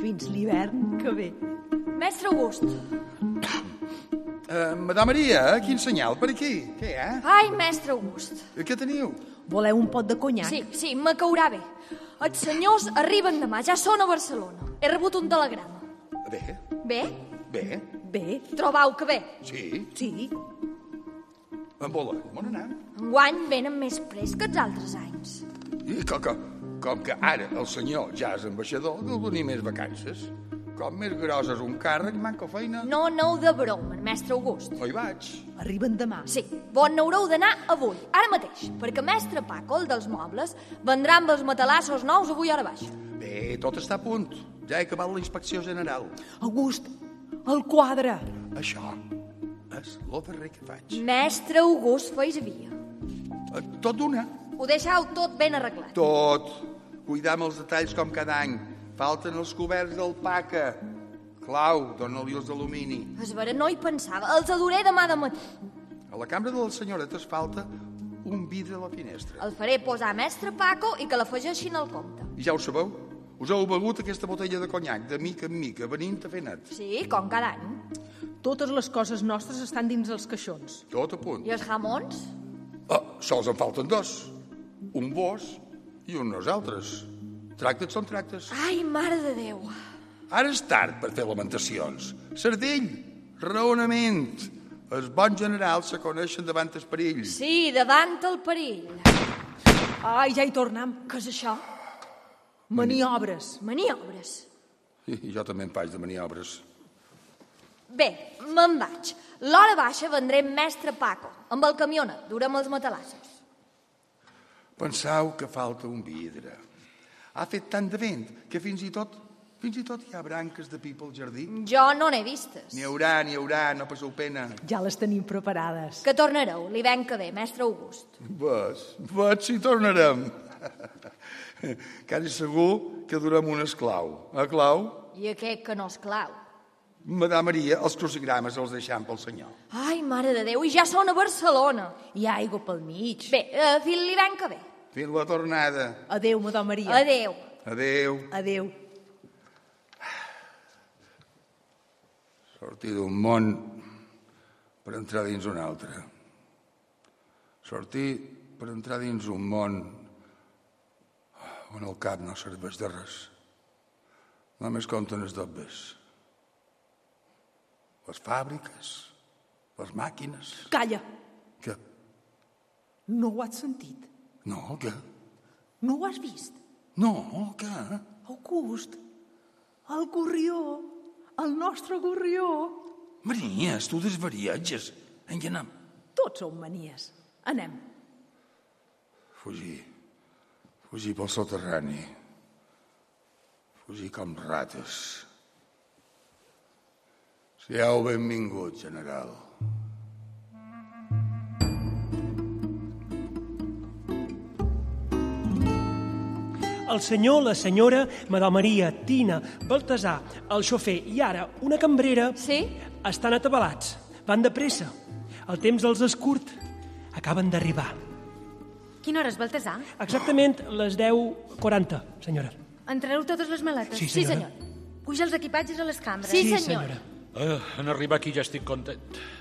[SPEAKER 6] Fins l'hivern que ve.
[SPEAKER 5] Mestre August.
[SPEAKER 7] Uh, Madame Maria, quin senyal per aquí? Què hi ha?
[SPEAKER 5] Ai, mestre August.
[SPEAKER 7] Què teniu?
[SPEAKER 6] Voleu un pot de conyac?
[SPEAKER 5] Sí, sí, me caurà bé. Els senyors arriben demà, ja són a Barcelona. He rebut un telegrama.
[SPEAKER 7] Bé,
[SPEAKER 5] Bé?
[SPEAKER 7] bé,
[SPEAKER 6] Bé,
[SPEAKER 5] Trobau que bé.
[SPEAKER 7] sí.
[SPEAKER 6] sí.
[SPEAKER 7] En vola, on anem?
[SPEAKER 5] Enguany venen més prest que els altres anys.
[SPEAKER 7] I coca, Com que ara el senyor ja és ambaixador, deu donar més vacances. Com més gros és un càrrec, manca feina.
[SPEAKER 5] No aneu de broma, mestre August.
[SPEAKER 7] Oi vaig.
[SPEAKER 6] Arriben demà.
[SPEAKER 5] Sí, bon n'haureu d'anar avui, ara mateix, perquè mestre Paco, el dels mobles, vendrà amb els matalassos nous avui ara baix.
[SPEAKER 7] Bé, tot està a punt. Ja he acabat la inspecció general.
[SPEAKER 6] August, el quadre.
[SPEAKER 7] Això és lo darrer que faig.
[SPEAKER 5] Mestre August feis via.
[SPEAKER 7] Eh, Tot d'una.
[SPEAKER 5] Ho deixau tot ben arreglat.
[SPEAKER 7] Tot. Cuidar amb els detalls com cada any. Falten els coberts d'alpaca. Clau, dona-li els d'alumini.
[SPEAKER 5] Es vera, no hi pensava, els adoré demà de matí.
[SPEAKER 7] A la cambra de les senyoretes falta un vidre a la finestra.
[SPEAKER 5] El faré posar a mestre Paco i que l'afegeixin al compte.
[SPEAKER 7] I ja ho sabeu? Us heu begut aquesta botella de conyac de mica en mica, venint a fer net.
[SPEAKER 5] Sí, com cada any.
[SPEAKER 6] Totes les coses nostres estan dins els caixons.
[SPEAKER 7] Tot a punt.
[SPEAKER 5] I els jamons?
[SPEAKER 7] Oh, sols en falten dos. Un vos i un nosaltres. Tractes són tractes.
[SPEAKER 5] Ai, mare de Déu.
[SPEAKER 7] Ara és tard per fer lamentacions. Sardell, raonament. Els bons generals se coneixen davant els perills.
[SPEAKER 5] Sí, davant el perill.
[SPEAKER 6] Ai, ja hi tornem.
[SPEAKER 5] Què és això?
[SPEAKER 6] Maniobres.
[SPEAKER 5] Maniobres.
[SPEAKER 7] I jo també en faig de maniobres.
[SPEAKER 5] Bé, me'n vaig. L'hora baixa vendré amb mestre Paco, amb el camiona, durem els matalassos.
[SPEAKER 7] Pensau que falta un vidre. Ha fet tant de vent que fins i tot fins i tot hi ha branques de pipa al jardí.
[SPEAKER 5] Jo no n'he vistes.
[SPEAKER 7] N'hi haurà, n'hi haurà, no passeu pena.
[SPEAKER 6] Ja les tenim preparades.
[SPEAKER 5] Que tornareu l'hivern que ve, mestre August.
[SPEAKER 7] Ves, ves si tornarem. Quasi segur que durem un esclau. A clau,
[SPEAKER 5] I aquest que no és clau.
[SPEAKER 7] Madame Maria, els crucigrames els deixam pel senyor.
[SPEAKER 5] Ai, mare de Déu, i ja són a Barcelona.
[SPEAKER 6] Hi ha aigua pel mig.
[SPEAKER 5] Bé, eh, fins l'hivern que ve.
[SPEAKER 7] Fins la tornada.
[SPEAKER 6] Adéu, Madó Maria.
[SPEAKER 5] Adéu.
[SPEAKER 7] Adéu.
[SPEAKER 6] Adéu.
[SPEAKER 7] Sortir d'un món per entrar dins un altre. Sortir per entrar dins un món on el cap no serveix de res. Només compten els dobbes. Les fàbriques, les màquines...
[SPEAKER 6] Calla.
[SPEAKER 7] Què?
[SPEAKER 6] No ho has sentit.
[SPEAKER 7] No, què?
[SPEAKER 6] No ho has vist.
[SPEAKER 7] No, què?
[SPEAKER 6] August, el gorrió, el nostre gorrió.
[SPEAKER 7] Manies, tu desvariatges. En què anem?
[SPEAKER 6] Tots som manies. Anem.
[SPEAKER 7] Fugir. Fugir pel soterrani. Fugir com rates. Siau benvingut, general.
[SPEAKER 2] El senyor, la senyora, Madame Maria, Tina, Baltasar, el xofer i ara una cambrera
[SPEAKER 5] Sí?
[SPEAKER 2] estan atabalats. Van de pressa. El temps els és curt. Acaben d'arribar.
[SPEAKER 3] Quina hora és, Baltasar?
[SPEAKER 2] Exactament les 10.40, senyora.
[SPEAKER 3] Entrareu totes les maletes?
[SPEAKER 2] Sí, senyora.
[SPEAKER 3] senyor. Puja els equipatges a les cambres.
[SPEAKER 5] Sí, senyor.
[SPEAKER 4] Uh, en arribar aquí ja estic content.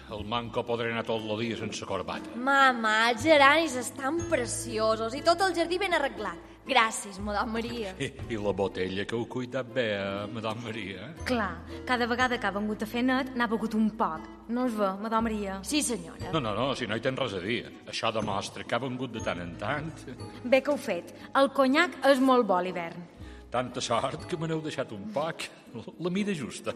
[SPEAKER 4] El manco podré anar tot el dia sense corbata.
[SPEAKER 5] Mama, els geranis estan preciosos i tot el jardí ben arreglat. Gràcies, Madame Maria.
[SPEAKER 4] I, i la botella que heu cuidat bé, eh, Madame Maria. eh?
[SPEAKER 3] Clar, cada vegada que ha vengut a fer net n'ha begut un poc. No es ve, Madame Maria.
[SPEAKER 5] Sí, senyora.
[SPEAKER 4] No, no, no, si no hi tens res a dir. Això demostra que ha vengut de tant en tant.
[SPEAKER 3] Bé que heu fet. El conyac és molt bo a l'hivern.
[SPEAKER 4] Tanta sort que me n'heu deixat un poc. La mida justa.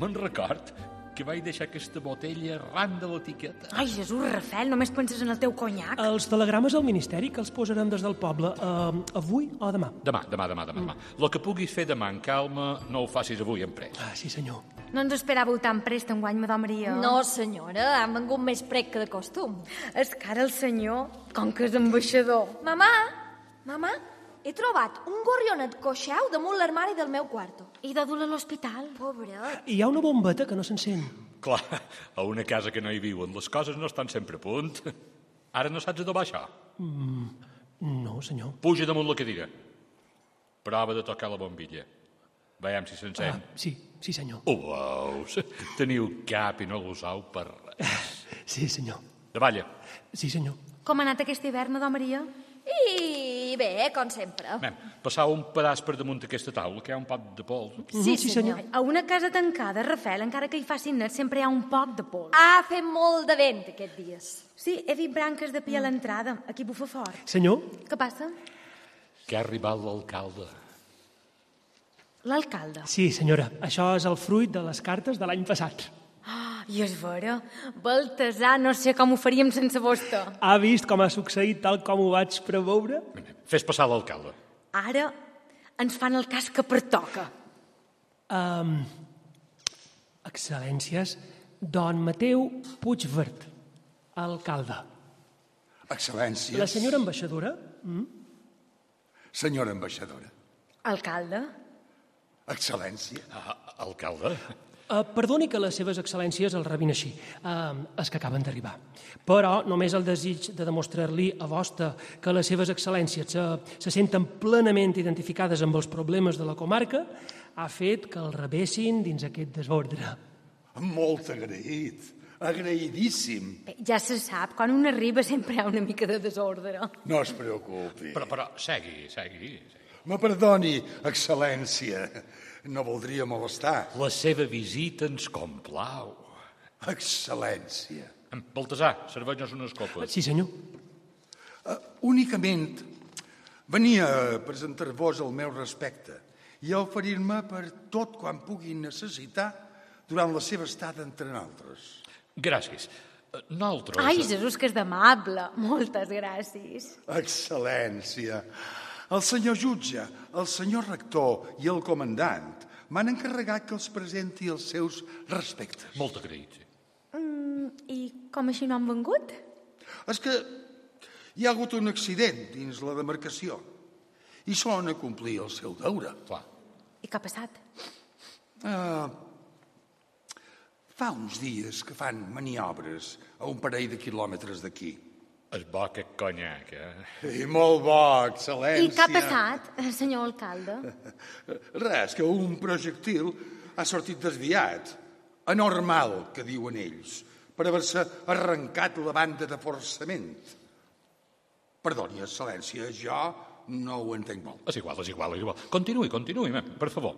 [SPEAKER 4] Me'n record que vaig deixar aquesta botella ran de l'etiqueta.
[SPEAKER 3] Ai, Jesús, Rafel, només penses en el teu conyac?
[SPEAKER 2] Els telegrames al ministeri que els posarem des del poble eh, avui o demà.
[SPEAKER 4] Demà, demà, demà, demà. demà. El que puguis fer demà en calma, no ho facis avui en pres.
[SPEAKER 2] Ah, sí, senyor.
[SPEAKER 3] No ens esperàveu tan prest en guany, Madame Maria.
[SPEAKER 5] No, senyora, han vengut més prec que de costum.
[SPEAKER 3] És que ara el senyor, com que és ambaixador...
[SPEAKER 5] Mamà, mamà, he trobat un gorrionet coixeu damunt l'armari del meu quarto.
[SPEAKER 3] I de dur-la a l'hospital.
[SPEAKER 5] Pobret.
[SPEAKER 2] Hi ha una bombeta que no s'encén.
[SPEAKER 4] Clar, a una casa que no hi viuen, les coses no estan sempre a punt. Ara no saps adobar això.
[SPEAKER 2] No, senyor.
[SPEAKER 4] Puja damunt la cadira. Prova de tocar la bombilla. Veiem si s'encén. Ah.
[SPEAKER 2] Sí, sí, senyor.
[SPEAKER 4] Ho veus? Teniu cap i no l'usau per res.
[SPEAKER 2] Sí, senyor.
[SPEAKER 4] Davalla.
[SPEAKER 2] Sí, senyor.
[SPEAKER 3] Com ha anat aquest hivern, Madame Maria?
[SPEAKER 5] I bé, com sempre.
[SPEAKER 4] Anem, passau un pedaç per damunt d'aquesta taula, que hi ha un pot de pols.
[SPEAKER 2] Mhm, sí, senyor.
[SPEAKER 3] A una casa tancada, Rafel, encara que hi facin net, sempre hi ha un poc de pols.
[SPEAKER 5] Ha fet molt de vent aquests dies.
[SPEAKER 3] Mm. Sí, he vist branques de pi a l'entrada. Aquí bufa fort.
[SPEAKER 2] Senyor,
[SPEAKER 3] Què passa?
[SPEAKER 4] que ha arribat l'alcalde.
[SPEAKER 3] L'alcalde.
[SPEAKER 2] Sí, senyora, això és el fruit de les cartes de l'any passat.
[SPEAKER 3] Ah, I és vera. Baltasar, no sé com ho faríem sense vostè.
[SPEAKER 2] Ha vist com ha succeït tal com ho vaig preveure?
[SPEAKER 4] Fes passar l'alcalde.
[SPEAKER 3] Ara ens fan el cas que pertoca.
[SPEAKER 2] Um, excel·lències, don Mateu Puigverd, alcalde.
[SPEAKER 7] Excel·lència.
[SPEAKER 2] La senyora ambaixadora?
[SPEAKER 7] Senyora ambaixadora.
[SPEAKER 3] Alcalde?
[SPEAKER 7] Excel·lència.
[SPEAKER 4] Ah, alcalde?
[SPEAKER 2] Uh, perdoni que les seves excel·lències el rebin així, uh, els que acaben d'arribar. Però només el desig de demostrar-li a vostè que les seves excel·lències se, se senten plenament identificades amb els problemes de la comarca ha fet que el rebessin dins aquest desordre.
[SPEAKER 7] Molt agraït. Agraïdíssim.
[SPEAKER 3] Bé, ja se sap, quan un arriba sempre hi ha una mica de desordre.
[SPEAKER 7] No es preocupi.
[SPEAKER 4] Però, però, segui, segui. segui.
[SPEAKER 7] Me perdoni, excel·lència. No voldria molestar.
[SPEAKER 4] La seva visita ens complau.
[SPEAKER 7] Excel·lència.
[SPEAKER 4] Em, Baltasar, serveix-nos unes copes.
[SPEAKER 2] Sí, senyor.
[SPEAKER 7] Uh, únicament venia a presentar-vos el meu respecte i a oferir-me per tot quan puguin necessitar durant la seva estada entre nosaltres.
[SPEAKER 4] Gràcies. Eh, Nosaltres...
[SPEAKER 3] Ai, Jesús, que és d'amable. Moltes gràcies.
[SPEAKER 7] Excel·lència! El senyor jutge, el senyor rector i el comandant m'han encarregat que els presenti els seus respectes.
[SPEAKER 4] Molt agraït. sí.
[SPEAKER 3] Mm, I com així no han vengut?
[SPEAKER 7] És que hi ha hagut un accident dins la demarcació i són a complir el seu deure.
[SPEAKER 4] Clar.
[SPEAKER 3] I què ha passat?
[SPEAKER 7] Uh, fa uns dies que fan maniobres a un parell de quilòmetres d'aquí.
[SPEAKER 4] És bo que conyac, eh?
[SPEAKER 7] I molt bo, excel·lència.
[SPEAKER 3] I què ha passat, senyor alcalde?
[SPEAKER 7] Res, que un projectil ha sortit desviat. Anormal, que diuen ells, per haver-se arrencat la banda de forçament. Perdoni, excel·lència, jo no ho entenc molt.
[SPEAKER 4] És igual, és igual, és igual. Continuï, continuï, mem, per favor.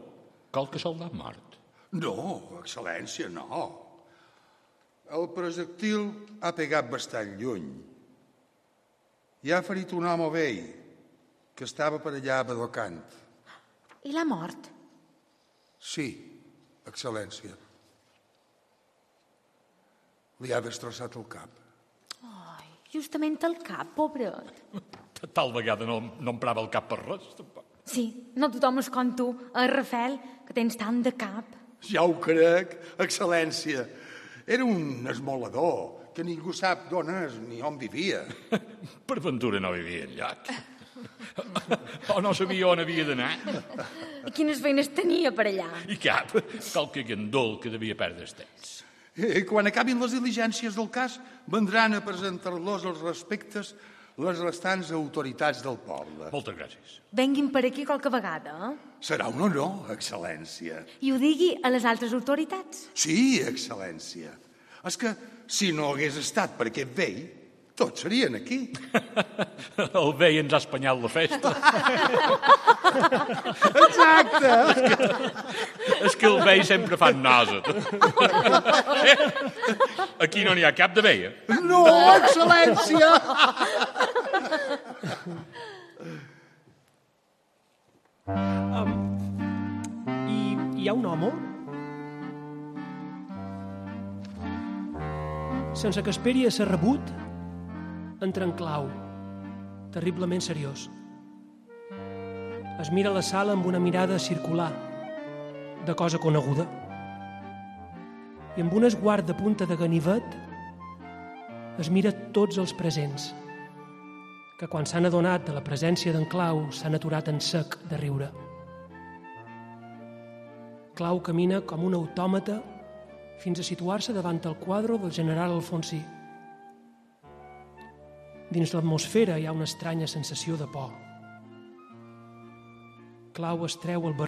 [SPEAKER 4] Cal que soldat mort.
[SPEAKER 7] No, excel·lència, no. El projectil ha pegat bastant lluny i ha ferit un home vell que estava per allà badocant.
[SPEAKER 3] I l'ha mort?
[SPEAKER 7] Sí, excel·lència. Li ha destrossat el cap.
[SPEAKER 3] Ai, justament el cap, pobret.
[SPEAKER 4] Tal vegada no, no em prava el cap per res, tampoc.
[SPEAKER 3] Sí, no tothom és com tu, eh, Rafel, que tens tant de cap.
[SPEAKER 7] Ja ho crec, excel·lència. Era un esmolador que ningú sap d'on és ni on vivia.
[SPEAKER 4] Per ventura no vivia enlloc. o no sabia on havia d'anar.
[SPEAKER 3] I quines feines tenia per allà?
[SPEAKER 4] I cap. Qualque gandol que devia perdre el temps.
[SPEAKER 7] I Eh, quan acabin les diligències del cas, vendran a presentar-los els respectes les restants autoritats del poble.
[SPEAKER 4] Moltes gràcies.
[SPEAKER 3] Venguin per aquí qualque vegada, eh?
[SPEAKER 7] Serà un honor, excel·lència.
[SPEAKER 3] I ho digui a les altres autoritats.
[SPEAKER 7] Sí, excel·lència. És que, si no hagués estat per aquest vell, tots serien aquí.
[SPEAKER 4] El vell ens ha espanyat la festa.
[SPEAKER 7] Exacte!
[SPEAKER 4] És que el vell sempre fa nosa. Aquí no n'hi ha cap de vell, eh?
[SPEAKER 7] No, excel·lència!
[SPEAKER 2] I hi ha un home sense que esperi a ser rebut entra en clau terriblement seriós es mira la sala amb una mirada circular de cosa coneguda i amb un esguard de punta de ganivet es mira tots els presents que quan s'han adonat de la presència d'en Clau s'han aturat en sec de riure. Clau camina com un autòmata fins a situar-se davant el quadre del general Alfonsí. Dins l'atmosfera hi ha una estranya sensació de por. Clau es treu el barret